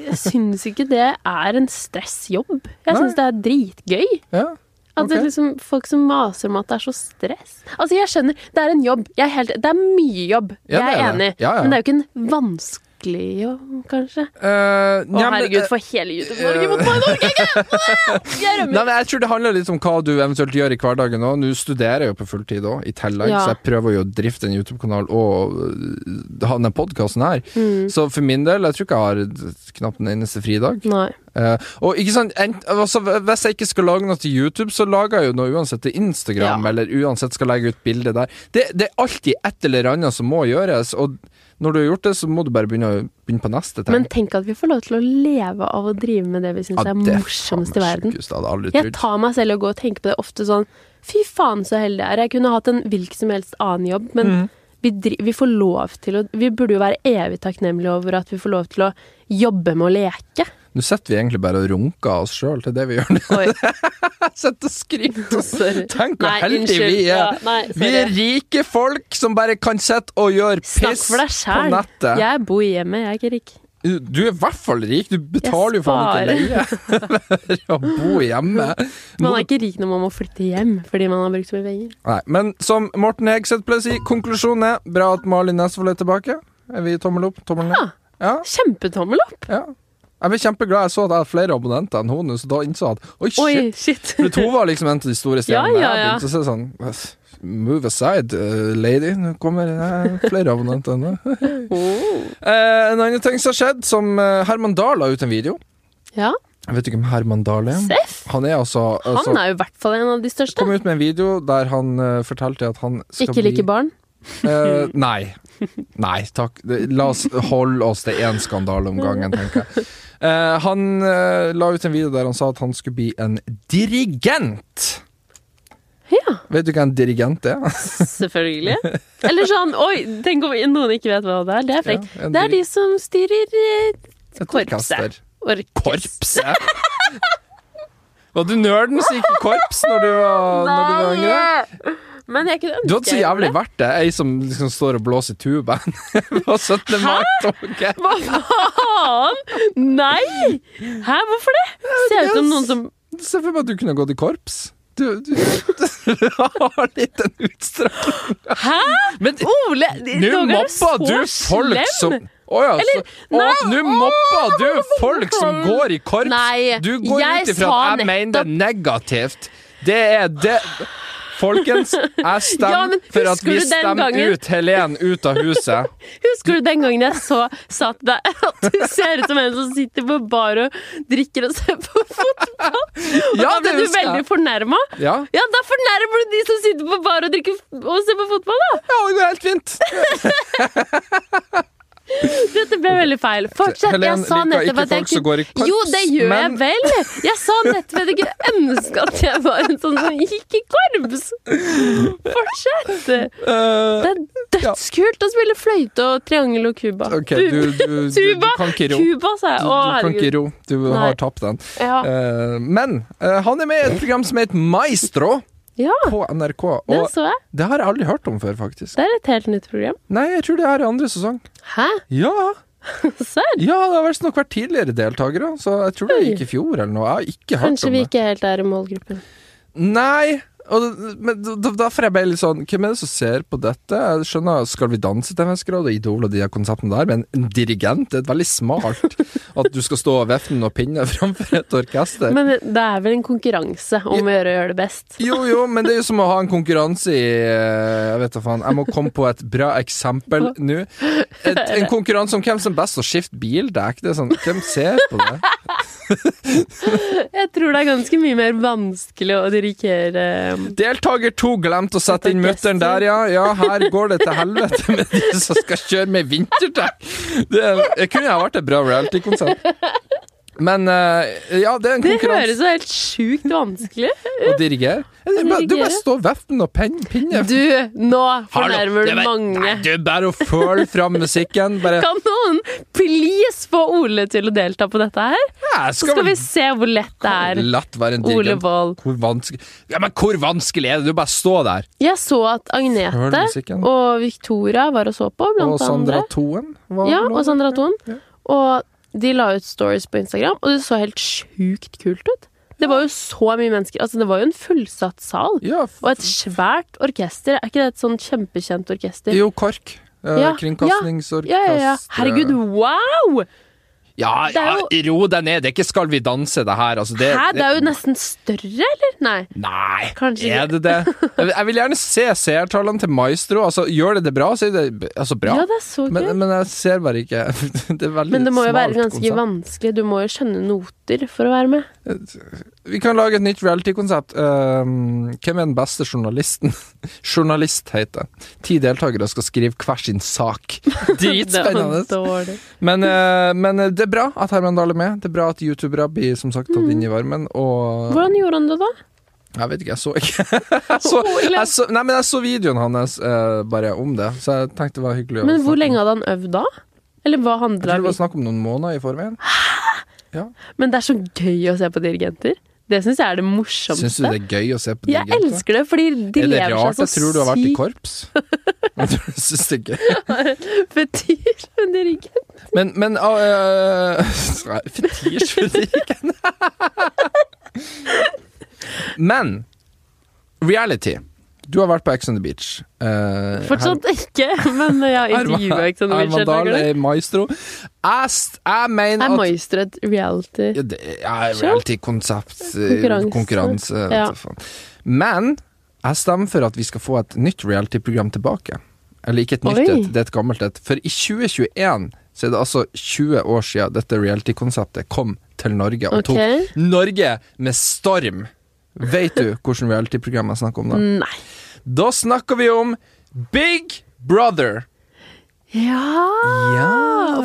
jeg syns ikke det er en stressjobb. Jeg Nei. syns det er dritgøy. Ja. At det Ok. er liksom Folk som maser om at det er så stress. Altså, jeg skjønner, det er en jobb. Jeg er helt, det er mye jobb. Ja, jeg det er, er det. enig. Ja, ja. Men det er jo ikke en vanskelig lykkelig og kanskje. Eh, Å, ja, men, herregud, eh, for hele YouTube-Norge mot meg i Norge! ikke? Jeg Nei, rømmer. men jeg tror det handler litt om hva du eventuelt gjør i hverdagen òg. Nå studerer jeg jo på fulltid òg, i tillegg, Ja. så jeg prøver jo å drifte en YouTube-kanal og øh, ha denne podkasten her. Mm. Så for min del, jeg tror ikke jeg har knapt en eneste fridag. Nei. Eh, og ikke sant, ent, altså, Hvis jeg ikke skal lage noe til YouTube, så lager jeg jo noe uansett til Instagram, Ja. eller uansett skal legge ut bilde der. Det, det er alltid et eller annet som må gjøres, og når du har gjort det, så må du bare begynne, å- begynne på neste ting. Men tenk at vi får lov til å leve av å drive med det vi syns Ja, er det er morsomst faen i meg verden. sjukeste, jeg hadde aldri Jeg trodd. tar meg selv i å gå og tenke på det ofte sånn Fy faen, så heldig jeg er. Jeg kunne hatt en hvilken som helst annen jobb, men Mm. vi, dri vi får lov til å Vi burde jo være evig takknemlige over at vi får lov til å jobbe med å leke. Nå sitter vi egentlig bare og runker av oss sjøl til det vi gjør. Oi, Jeg sitter og skryter. sorry. Tenk hvor Nei, heldige vi unnskyld. Ja, er. nei, Vi er sorry. rike folk som bare kan sitte og gjøre Snakk piss for deg på sjæl. nettet. Jeg bor hjemme, jeg er ikke rik. Du er i hvert fall rik. Du betaler jo Jeg faen ikke leie for å bo hjemme. Man er ikke rik når man må flytte hjem fordi man har brukt så mye penger. Nei, men som Morten Hegseth pleier å si, konklusjonen er bra at Malin Nesvold er tilbake. Er vi tommel opp? Tommel ned? Ja. Kjempetommel opp! ja. Jeg ble kjempeglad. Jeg så at jeg hadde flere abonnenter enn hun, så da innså jeg at oi, shit. Oi, shit. For hun var liksom en av de store stjernene. Ja, ja, ja. Jeg begynte å se sånn Move aside, eh, lady. Nå kommer eh, flere abonnenter ennå. Oh. Eh, en annen ting som har skjedd, som eh, Herman Dahl la ut en video. Ja, Jeg vet ikke om Herman Dahl er Seff. Han er altså, altså Han er jo i hvert fall en av de største. Kom ut med en video der han eh, fortalte at han skal Ikke like bli barn. Eh, nei. Nei, takk. Det- La oss holde oss til én skandale om gangen, tenker jeg. Eh, han eh, la ut en video der han sa at han skulle bli en dirigent. Ja, Vet du hva en dirigent er? selvfølgelig. Eller sånn Oi, tenk om noen ikke vet hva det er. Det er frekt. Ja, en det er diri- de som styrer eh, Et orkester. korpset. Orkest. Korpset? Var du nerden som gikk i korps når du var, når du var yngre? Nei! Men jeg kunne ønske Du hadde så jeg jævlig gjorde vært det, ei som liksom står og blåser i tubaen på 17. mai-toget. det. Hva faen? Nei! Hæ, hvorfor det? Ser ut som noen som Se for meg at du kunne gått i korps. Du, du, du har litt en utstrakt Hæ? Men Ole, nå Roger mobber du folk er så slem. som Å ja, så Eller, Å, nei, Nå mobber du folk som går i korps! Nei, du går jeg ut ifra sa at jeg mener det negativt. Det er det Folkens, jeg Ja, stemmer men for at husker vi du den stemte gangen? ut Helen ut av huset. Husker du den gangen jeg så sa til deg at du ser ut som en som sitter på bar og drikker og ser på fotball? Og Ja, da det ble husker du jeg. veldig fornærma. Ja. Ja, da fornærmer du de som sitter på bar og drikker f- og ser på fotball, da! Ja, det går helt fint. Dette ble veldig feil. Fortsett. Helen Jeg sa liker nettopp ikke at jeg folk som går i korps, Jo, det gjør men- jeg vel! Jeg sa nettopp at jeg kunne ønske at jeg var en sånn som gikk i korps! Fortsett! Det Eh, er dødskult å spille fløyte og triangel og cuba. OK, du, du, du, du, Tuba! kan ikke ro. Du, Cuba, sa jeg. du Å, kan ikke herregud. ro. Du Nei. Ah. har tapt den. Ja. Eh, men eh, han er med i et program som heter Maestro ja, på NRK. det Og så jeg. det har jeg aldri hørt om før, faktisk. Det er et helt nytt program. Nei, jeg tror det er i andre sesong. Hæ? Ja, Serr? ja det har vel nok vært tidligere deltakere, så jeg tror det gikk i fjor eller noe. Jeg har ikke hørt Kanskje om vi det. ikke helt er i målgruppen. Nei, og det- men da- derfor er jeg bare litt sånn Hvem er det som ser på dette? Jeg skjønner Skal vi danse til en viss grad og Idol og de her konseptene der, men en dirigent det er et veldig smalt at du skal stå og vefte noen pinner framfor et orkester. Men det er vel en konkurranse om å gjøre å gjøre det best. Jo, jo, men det er jo som å ha en konkurranse i eh, Jeg vet da faen. Jeg må komme på et bra eksempel nå. Et, en konkurranse om hvem som er best til å skifte bildekk. Det er sånn, hvem ser på det? Jeg tror det er ganske mye mer vanskelig å dirigere um, Deltaker to glemte å sette inn mutter'n der, ja. Ja, her går det til helvete med de som skal kjøre med vinterdekk. Det, det kunne ha vært et bra reality-konsept. Men eh, ja, det er en Det konkurranse høres jo helt sjukt vanskelig å dirigere. Du bare, du bare står og vefter noen pin- pinner. Du, nå Hallo, det fornærmer du er bare- Nei, mange. Det er bare å føle fram musikken. Bare Kan noen please få Ole til å delta på dette her? Ja, Så skal vi se hvor lett det er. Latt være en Ole dirigent. Wold. Hvor vanskelig Ja, men hvor vanskelig er det? Du bare stå der. Jeg så at Hør Agnete musikken. og Victoria var og så på, Og blant Sandra andre. Toen. var Ja, vel og også. Sandra Thon. Og de la ut stories på Instagram, og det så helt sjukt kult ut. Det var jo så mye mennesker. Altså, det var jo en fullsatt sal. Ja, f- Og et svært orkester. Er ikke det et sånn kjempekjent orkester? jo, KORK. Eh, Ja, Kringkastingsorkester Ja, ja, ja. Herregud, wow! Ja, Det er ja, ro deg ned. Det er ikke 'Skal vi danse', det her. Altså, det, Hæ, det er jo nesten større, eller? Nei. Nei, Kanskje er det det? Jeg vil- Jeg vil gjerne se seertallene til Maestro. Altså, gjør det det bra, så er det b- altså, bra. Ja, det er så gøy. men, men jeg ser bare ikke Det er veldig Men det må smalt jo være ganske konsept. vanskelig. Du må jo skjønne noter for å være med. Vi kan lage et nytt reality-konsept. Um, hvem er den beste journalisten? Journalist heter det. Ti deltakere skal skrive hver sin sak. Dritspennende. Det var dårlig. Men, eh, men det er bra at Herman Dahl er med. Det er bra at youtubere blir som sagt tatt Mm. inn i varmen. Og Hvordan gjorde han det, da? Jeg vet ikke, jeg så ikke jeg så, jeg så, Nei, men jeg så videoen hans eh, bare om det, så jeg tenkte det var hyggelig. å Men snakke hvor om. lenge hadde han øvd da? Eller hva Jeg tror handler det det var snakk om noen måneder i forveien. om? Men det er så gøy å se på dirigenter. Det syns jeg er det morsomste. Syns du det er gøy å se på jeg dirigenter? elsker det, fordi de Er det lever rart seg jeg tror du så har vært i sykt korps? Jeg tror du synes det er gøy. betyr en dirigent. Men, men øh, øh, Fetisj for drikken. men reality. Du har vært på Ex on the Beach. Eh, Fortsatt ikke, men jeg har Her- intervjua ikke sånn Herman Dahl Wilshere. er maestro. Jeg, st- jeg mener Er at Maestro et reality? ja, det er reality-konsept, eh, Konkurranse. konkurranse vet Ja. du faen. Men jeg stemmer for at vi skal få et nytt reality-program tilbake. Eller ikke et nytt, Oi. et, det er et gammelt et. For i 2021 så er det altså 20 år siden dette reality-konseptet kom til Norge og Ok. tok Norge med storm. Vet du hvilket reality-program jeg snakker om da? Nei. Da snakker vi om Big Brother. Ja. Ja.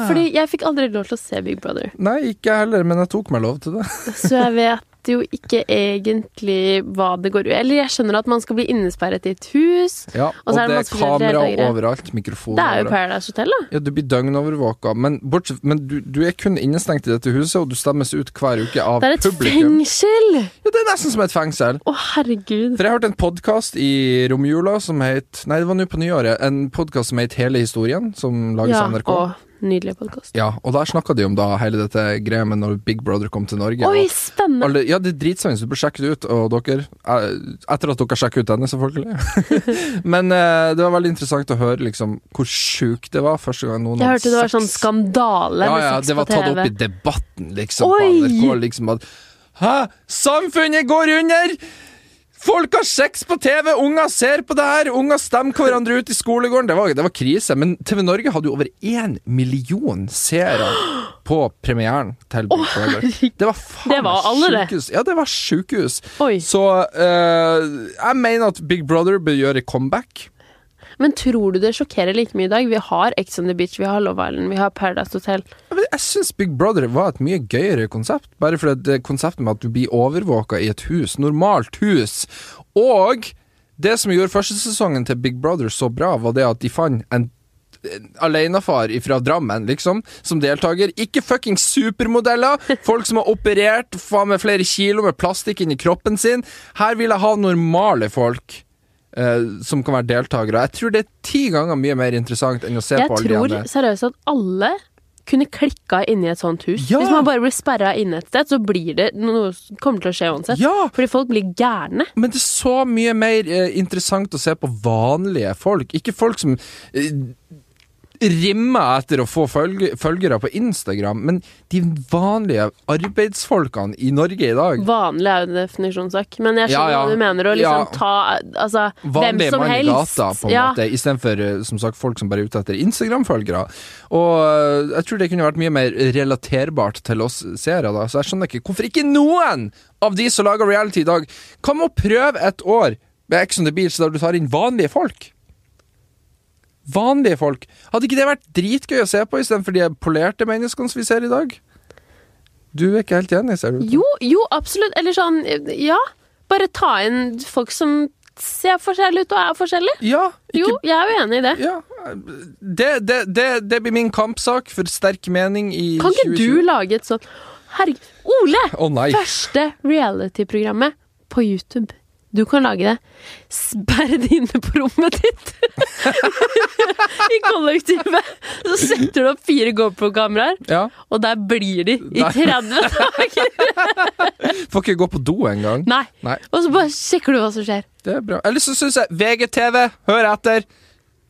Fordi jeg fikk aldri lov til å se Big Brother. Nei, ikke jeg heller, men jeg tok meg lov til det. Så jeg vet jo ikke egentlig hva det går ut Eller jeg skjønner at man skal bli innesperret i et hus. Ja, Og og så er det det er masse forskjellige kamera deltakere. overalt, mikrofon Det er jo overalt. Paradise Hotel, da. Ja, du blir døgnovervåka, men, bortsett, men du, du er kun innestengt i dette huset, og du stemmes ut hver uke av Det er et publikum. fengsel! Ja, det er nesten som et fengsel. Å, herregud. For jeg hørte en podkast i romjula som het Nei, det var nå på nyåret. En podkast som het Hele historien, som lages Ja, av NRK. å, nydelig podkast. Ja, og der snakka de om da hele dette greia med når Big Brother kom til Norge. Oi, og spennende! alle, ja, det er dritspennende, så du bør sjekke det ut. Og dere eh, Etter at dere sjekker ut denne, selvfølgelig. Men eh, det var veldig interessant å høre liksom hvor sjukt det var første gang noen Jeg hørte det var sånn sex. skandale ja, med ja, sex det var på tatt TV. opp i debatten, liksom. På Oi! NRK, liksom at Hæ? Samfunnet går under! Folk har sex på TV! Unger ser på det her! Unger stemmer hverandre ut i skolegården! Det var, det var krise. Men TV Norge hadde jo over én million seere på premieren til Big Brother. Det var faen Det var alle, det. sjukehus. Ja, det var sjukehus. Oi. Så eh, jeg mener at Big Brother bør gjøre comeback. Men tror du det sjokkerer like mye i dag? Vi har Ex on the Beach, vi har Love Island, vi har Paradise Hotel. Ja, men Jeg syns Big Brother var et mye gøyere konsept. Bare fordi det konseptet med at du blir overvåka i et hus, normalt hus. Og det som gjorde første sesongen til Big Brother så bra, var det at de fant en en alenefar fra Drammen, liksom, som deltaker. Ikke fucking supermodeller! Folk som har operert faen meg flere kilo med plastikk inni kroppen sin. Her vil jeg ha normale folk. eh, som kan være deltakere. Jeg tror det er ti ganger mye mer interessant enn å se Jeg på alle de tror andre. seriøst at alle kunne klikka inni et sånt hus. Ja. Hvis man bare blir sperra inne et sted, så blir det noe som kommer til å skje uansett. Ja! Fordi folk blir gærne. Men det er så mye mer eh, interessant å se på vanlige folk. Ikke folk som eh, rimmer etter å få følge, følgere på Instagram, men de vanlige arbeidsfolkene i Norge i dag. Vanlig er jo en definisjonssak, men jeg Ja, skjønner ja. hva du mener. Å liksom Ja. ta altså, hvem Vanlige som mann i helst. gata, på en ja. måte, istedenfor eh, som sagt, folk som bare er ute etter Instagram-følgere. Og eh, jeg tror det kunne vært mye mer relaterbart til oss seere, da, så jeg skjønner ikke hvorfor ikke noen av de som lager reality i dag, kan må prøve et år med Ex on the Beach der du tar inn vanlige folk. Vanlige folk. Hadde ikke det vært dritgøy å se på istedenfor de polerte menneskene som vi ser i dag? Du er ikke helt enig, ser du? Jo, jo, absolutt. Eller sånn, ja. Bare ta inn folk som ser forskjellige ut og er forskjellige. Ja, ikke Jo, jeg er jo enig i det. Ja, det, det, det, det blir min kampsak for sterk mening i Kan ikke du lage et sånt Herregud. Ole! Å nei. Første reality-programmet på YouTube. Du kan lage det. Sperr det inne på rommet ditt! I kollektivet. Så setter du opp fire GoPro-kameraer, Ja. og der blir de i Nei. 30 dager! Får ikke gå på do engang. Nei. Nei. Og så bare sjekker du hva som skjer. Det er bra. Eller så syns jeg VGTV, hør etter!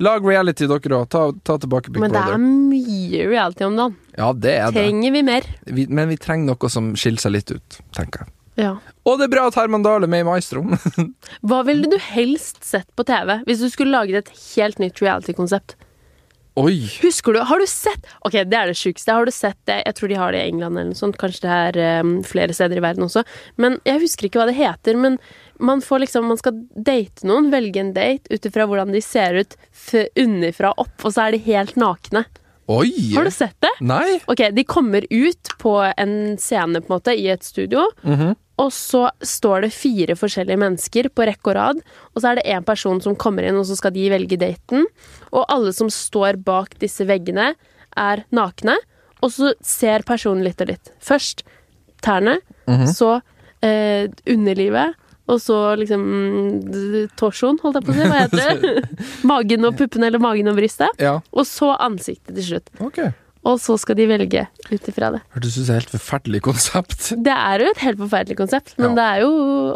Lag reality, dere òg. Ta, ta tilbake Big Men det er Brother. mye reality om dagen. Ja, det er det. Trenger vi mer? Vi, men vi trenger noe som skiller seg litt ut, tenker jeg. Ja. Og det er bra at Herman Dahl er med i Maestro. Hva ville du helst sett på TV hvis du skulle laget et helt nytt reality-konsept? Oi! Husker du, har du sett Ok, det er det sjukeste. Har du sett det? Jeg tror de har det i England eller noe sånt. Kanskje det er eh, flere steder i verden også. Men jeg husker ikke hva det heter. Men man får liksom Man skal date noen, velge en date ut ifra hvordan de ser ut f underfra og opp, og så er de helt nakne. Oi! Har du sett det? Nei? Ok, de kommer ut på en scene på en måte i et studio. Og så står det fire forskjellige mennesker på rekke og rad. Og så er det én person som kommer inn, og så skal de velge daten. Og alle som står bak disse veggene, er nakne. Og så ser personen litt og litt. Først tærne, så eh, underlivet. Og så liksom mm, torsoen, holdt jeg på å si. Hva heter det? magen og puppene, eller magen og brystet. Ja, Og så ansiktet til slutt. ok. Og så skal de velge ut ifra det. Hørtes ut som et helt forferdelig konsept. Det er jo et helt forferdelig konsept, Ja. men det er jo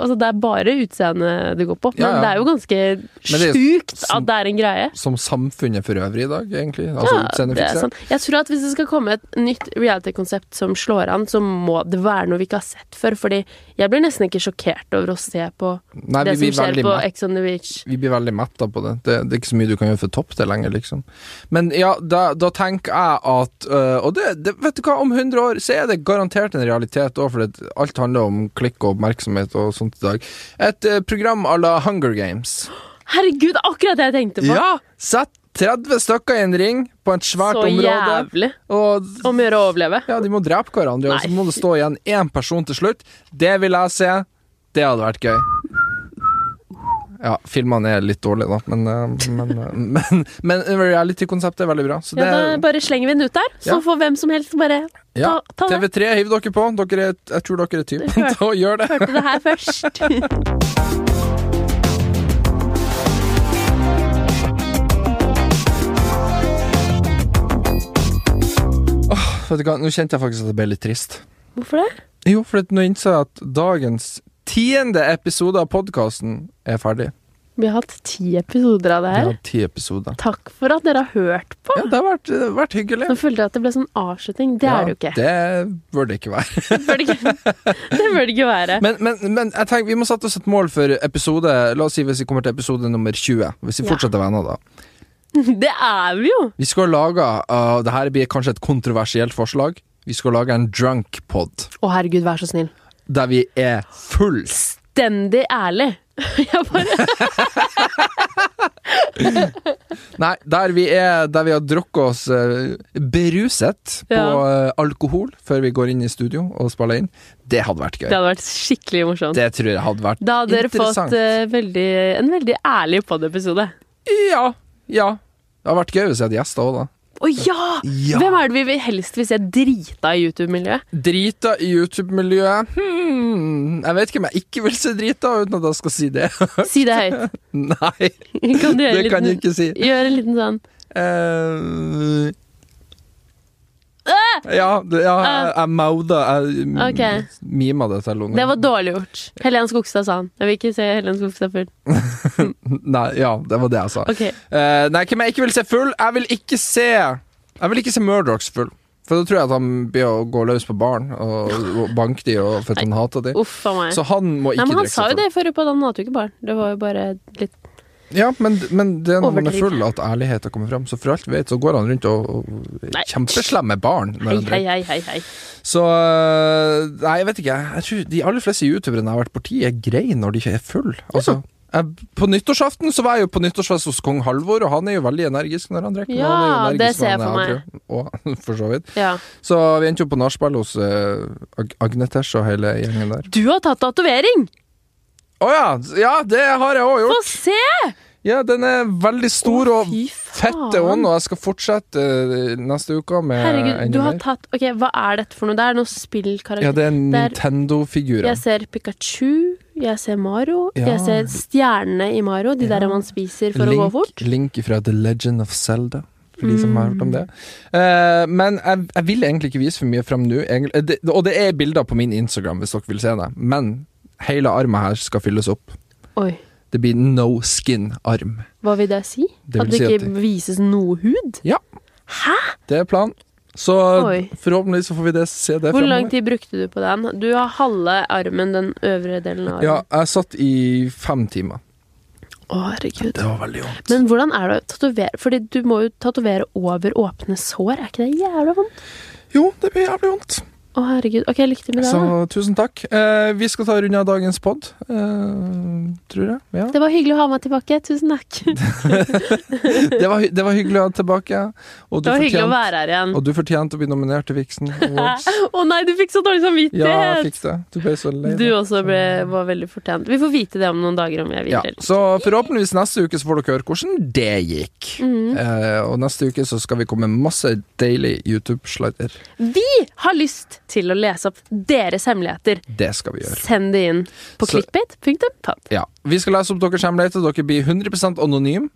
altså det er bare utseendet det går på. Men Ja, ja. det er jo ganske det er sjukt som- at det er en greie. Som samfunnet for øvrig i dag, egentlig. Altså Ja, det er utseendefikse. sånn. Jeg tror at hvis det skal komme et nytt reality-konsept som slår an, så må det være noe vi ikke har sett før. Fordi jeg blir nesten ikke sjokkert over å se på Nei, det vi blir som skjer veldig på mett. Ex on the Beach. Vi blir veldig metta på det. det. Det er ikke så mye du kan gjøre for topp det lenger, liksom. Men ja, da, da tenker jeg at øh, Og det, det, vet du hva, om 100 år så er det garantert en realitet òg, for det, alt handler om klikk og oppmerksomhet og sånt i dag. Et øh, program à la Hunger Games. Herregud, akkurat det jeg tenkte på! Ja! Sett 30 stykker i en ring på et svært så område, jævlig. og Om å gjøre å overleve. ja, de må drepe hverandre, og så Nei. må det stå igjen én person til slutt. Det vil jeg se. Det hadde vært gøy. Ja, filmene er litt dårlige, da, men, eh, men, eh, men, men reality-konseptet er veldig bra. Så Ja, det, da bare slenger vi den ut der, så Ja. får hvem som helst bare ja, ta, ta det. TV3, hiv dere på. Dere er, jeg tror dere er typen Hør- til å gjøre det. Hørte det her først. Vet du hva, Nå kjente jeg faktisk at jeg ble litt trist. Hvorfor det? Jo, for at nå innså jeg at dagens tiende episode av podkasten er ferdig. Vi har hatt ti episoder av det Vi her. har ti episoder. Takk for at dere har hørt på. Ja, det har vært, det har vært hyggelig. Nå følte jeg at det ble sånn avslutning. Det Ja, er det jo ikke. Det bør det ikke være. Det bør det ikke, det bør det ikke være. Men, men, men jeg tenker, vi må sette oss et mål for episode La oss si hvis vi kommer til episode nummer 20. Hvis vi Ja. fortsetter venner, da. Det er vi jo! Vi skal lage uh, Det her blir kanskje et kontroversielt forslag. Vi skal lage en drunk pod Å, herregud, vær så snill. der vi er full. Stendig ærlig. Jeg bare Nei, der vi, er, der vi har drukket oss uh, beruset på Ja. uh, alkohol før vi går inn i studio og spiller inn. Det hadde vært gøy. Det hadde vært skikkelig morsomt. Det tror jeg hadde vært Da hadde dere fått interessant. eh, veldig, en veldig ærlig pod-episode. Ja. Ja. Det hadde vært gøy hvis jeg hadde gjester òg, da. Å ja! Ja. Hvem er det vi vil- helst vil se drita i YouTube-miljøet? Drita i YouTube-miljøet hmm, Jeg vet ikke om jeg ikke vil se drita uten at jeg skal si det. Si det høyt. Nei, Kan du gjøre, det en kan jeg liten, ikke si. gjøre en liten sånn Eh, ja, det- ja, jeg, jeg mauda Jeg mm, Ah! Ok. mima det til Det Lone. var dårlig gjort. Helen Skogstad sa han. Jeg vil ikke se Helen Skogstad full. Nei, ja, det var det jeg sa. Ok, Eh, nei, hvem jeg ikke vil se full? Jeg vil ikke se Jeg vil ikke se Murdochs full. For da tror jeg at han blir å gå løs på barn og, og banke de og for at han hater de. uff a meg. Så han må Nei, ikke men han drikke sa seg jo full. det i forrige på, han hadde jo ikke barn. Det var jo bare litt Ja, men, men det er når man er Overdriv. full at ærligheten kommer fram. Så for alt vi vet, så går han rundt og, og Nei. kjempeslemme barn. når hei, han hei, drikker. hei, hei. hei. Så øh, Nei, jeg vet ikke. Jeg tror de aller fleste youtuberne jeg har vært borti, er greie når de ikke er full. Altså, jeg, på nyttårsaften så var jeg jo på nyttårsfest hos kong Halvor, og han er jo veldig energisk når han drikker. Ja, det ser jeg for Og, for så vidt. Ja. Så vi endte jo på nachspiel hos øh, Ag- Agnetesh og hele gjengen der. Du har tatt tatovering! Å ja! Ja, det har jeg òg Få gjort. se! Ja, den er veldig stor Å, og fy faen. fette ånd, og jeg skal fortsette eh, neste uke med Herregud, enda du har mer. tatt Ok, hva er dette for noe? Det er noen spillkarakter. Ja, det er Der- Nintendo-figurer. Jeg ser Pikachu, jeg ser Mario, Ja. jeg ser stjernene i Mario, de der Ja. man spiser for å gå Link, fort. Link fra The Legend of Zelda. For de som har hørt om det. Mm. Eh, men jeg, jeg vil egentlig ikke vise for mye fram nå. egentlig. Eh, det- Og det er bilder på min Instagram, hvis dere vil se det. Men hele armen her skal fylles opp. Oi. Det Det blir no skin-arm. Hva vil det si? Det at vil det si at ikke vises noe hud? Ja. Det er planen. Så Oi. forhåpentligvis så får vi det, se det Hvor fremover. lang tid brukte du på den? Du har halve armen, den øvre delen av Ja, armen. jeg satt i fem timer. Å, herregud. Det var veldig vondt. Men hvordan er det å tatovere? Fordi du må jo tatovere over åpne sår. Er ikke det jævla vondt? Jo, det ble jævlig vondt. Å, herregud. Ok, lykke til med det. Så da. tusen takk. Eh, vi skal ta runde av dagens pod, eh, tror jeg. Ja. Det var hyggelig å ha meg tilbake. Tusen takk. Det Det, var, hy- det var hyggelig å ha deg tilbake. Og du, var hyggelig å fortjente, være her igjen. og du fortjente å bli nominert til Vixen Awards. Å nei, du fikk så dårlig Ja, jeg samvittighet! fikk det. Du ble så lei. du deg. også ble, var veldig fortjent. Vi får vite det om noen dager om jeg vil. Ja, eller- så forhåpentligvis neste uke så får dere høre hvordan det gikk. Mhm. Eh, og neste uke så skal vi komme med masse deilig YouTube-sladder. Vi har lyst til å lese opp deres hemmeligheter. Det skal vi gjøre. Send det inn på Så- clickbait.pub. Ja. Vi skal lese opp deres hemmeligheter. Dere blir 100 anonym.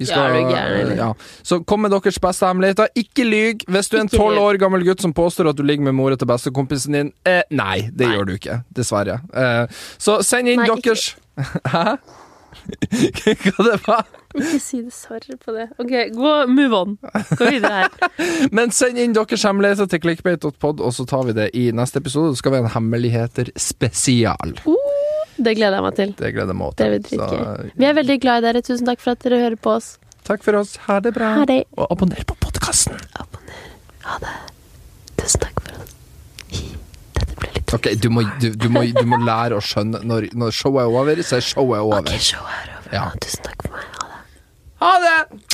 Vi Ja, er du gæren, eller? ja. Så kom med deres beste hemmeligheter. Ikke lyg! Hvis du er en Ikke lyg. tolv år gammel gutt som påstår at du ligger med mora til bestekompisen din, eh, nei, det Nei. gjør du ikke. Dessverre. Eh, så send inn Nei, ikke. deres Hæ? Hva det var? Ikke si det sorry på det. Ok, gå, move on. Gå videre her. Men send inn deres hemmeligheter til clickbait.pod, og så tar vi det i neste episode. Så skal vi ha en hemmeligheter spesial. Uh, Det gleder jeg meg til. Det gleder jeg meg Det blir til. Så, dritgøy. Vi er veldig glad i dere. Tusen takk for at dere hører på oss. takk for oss. Ha det bra. Ha det. Og abonner på podkasten. Ha det. Tusen takk for det. Dette ble litt Ok, du må, du, du, må, du må lære å skjønne når, når showet er over, så er showet over. Ok, showet er over. Ja. Tusen takk for meg. Ha det. Ha det!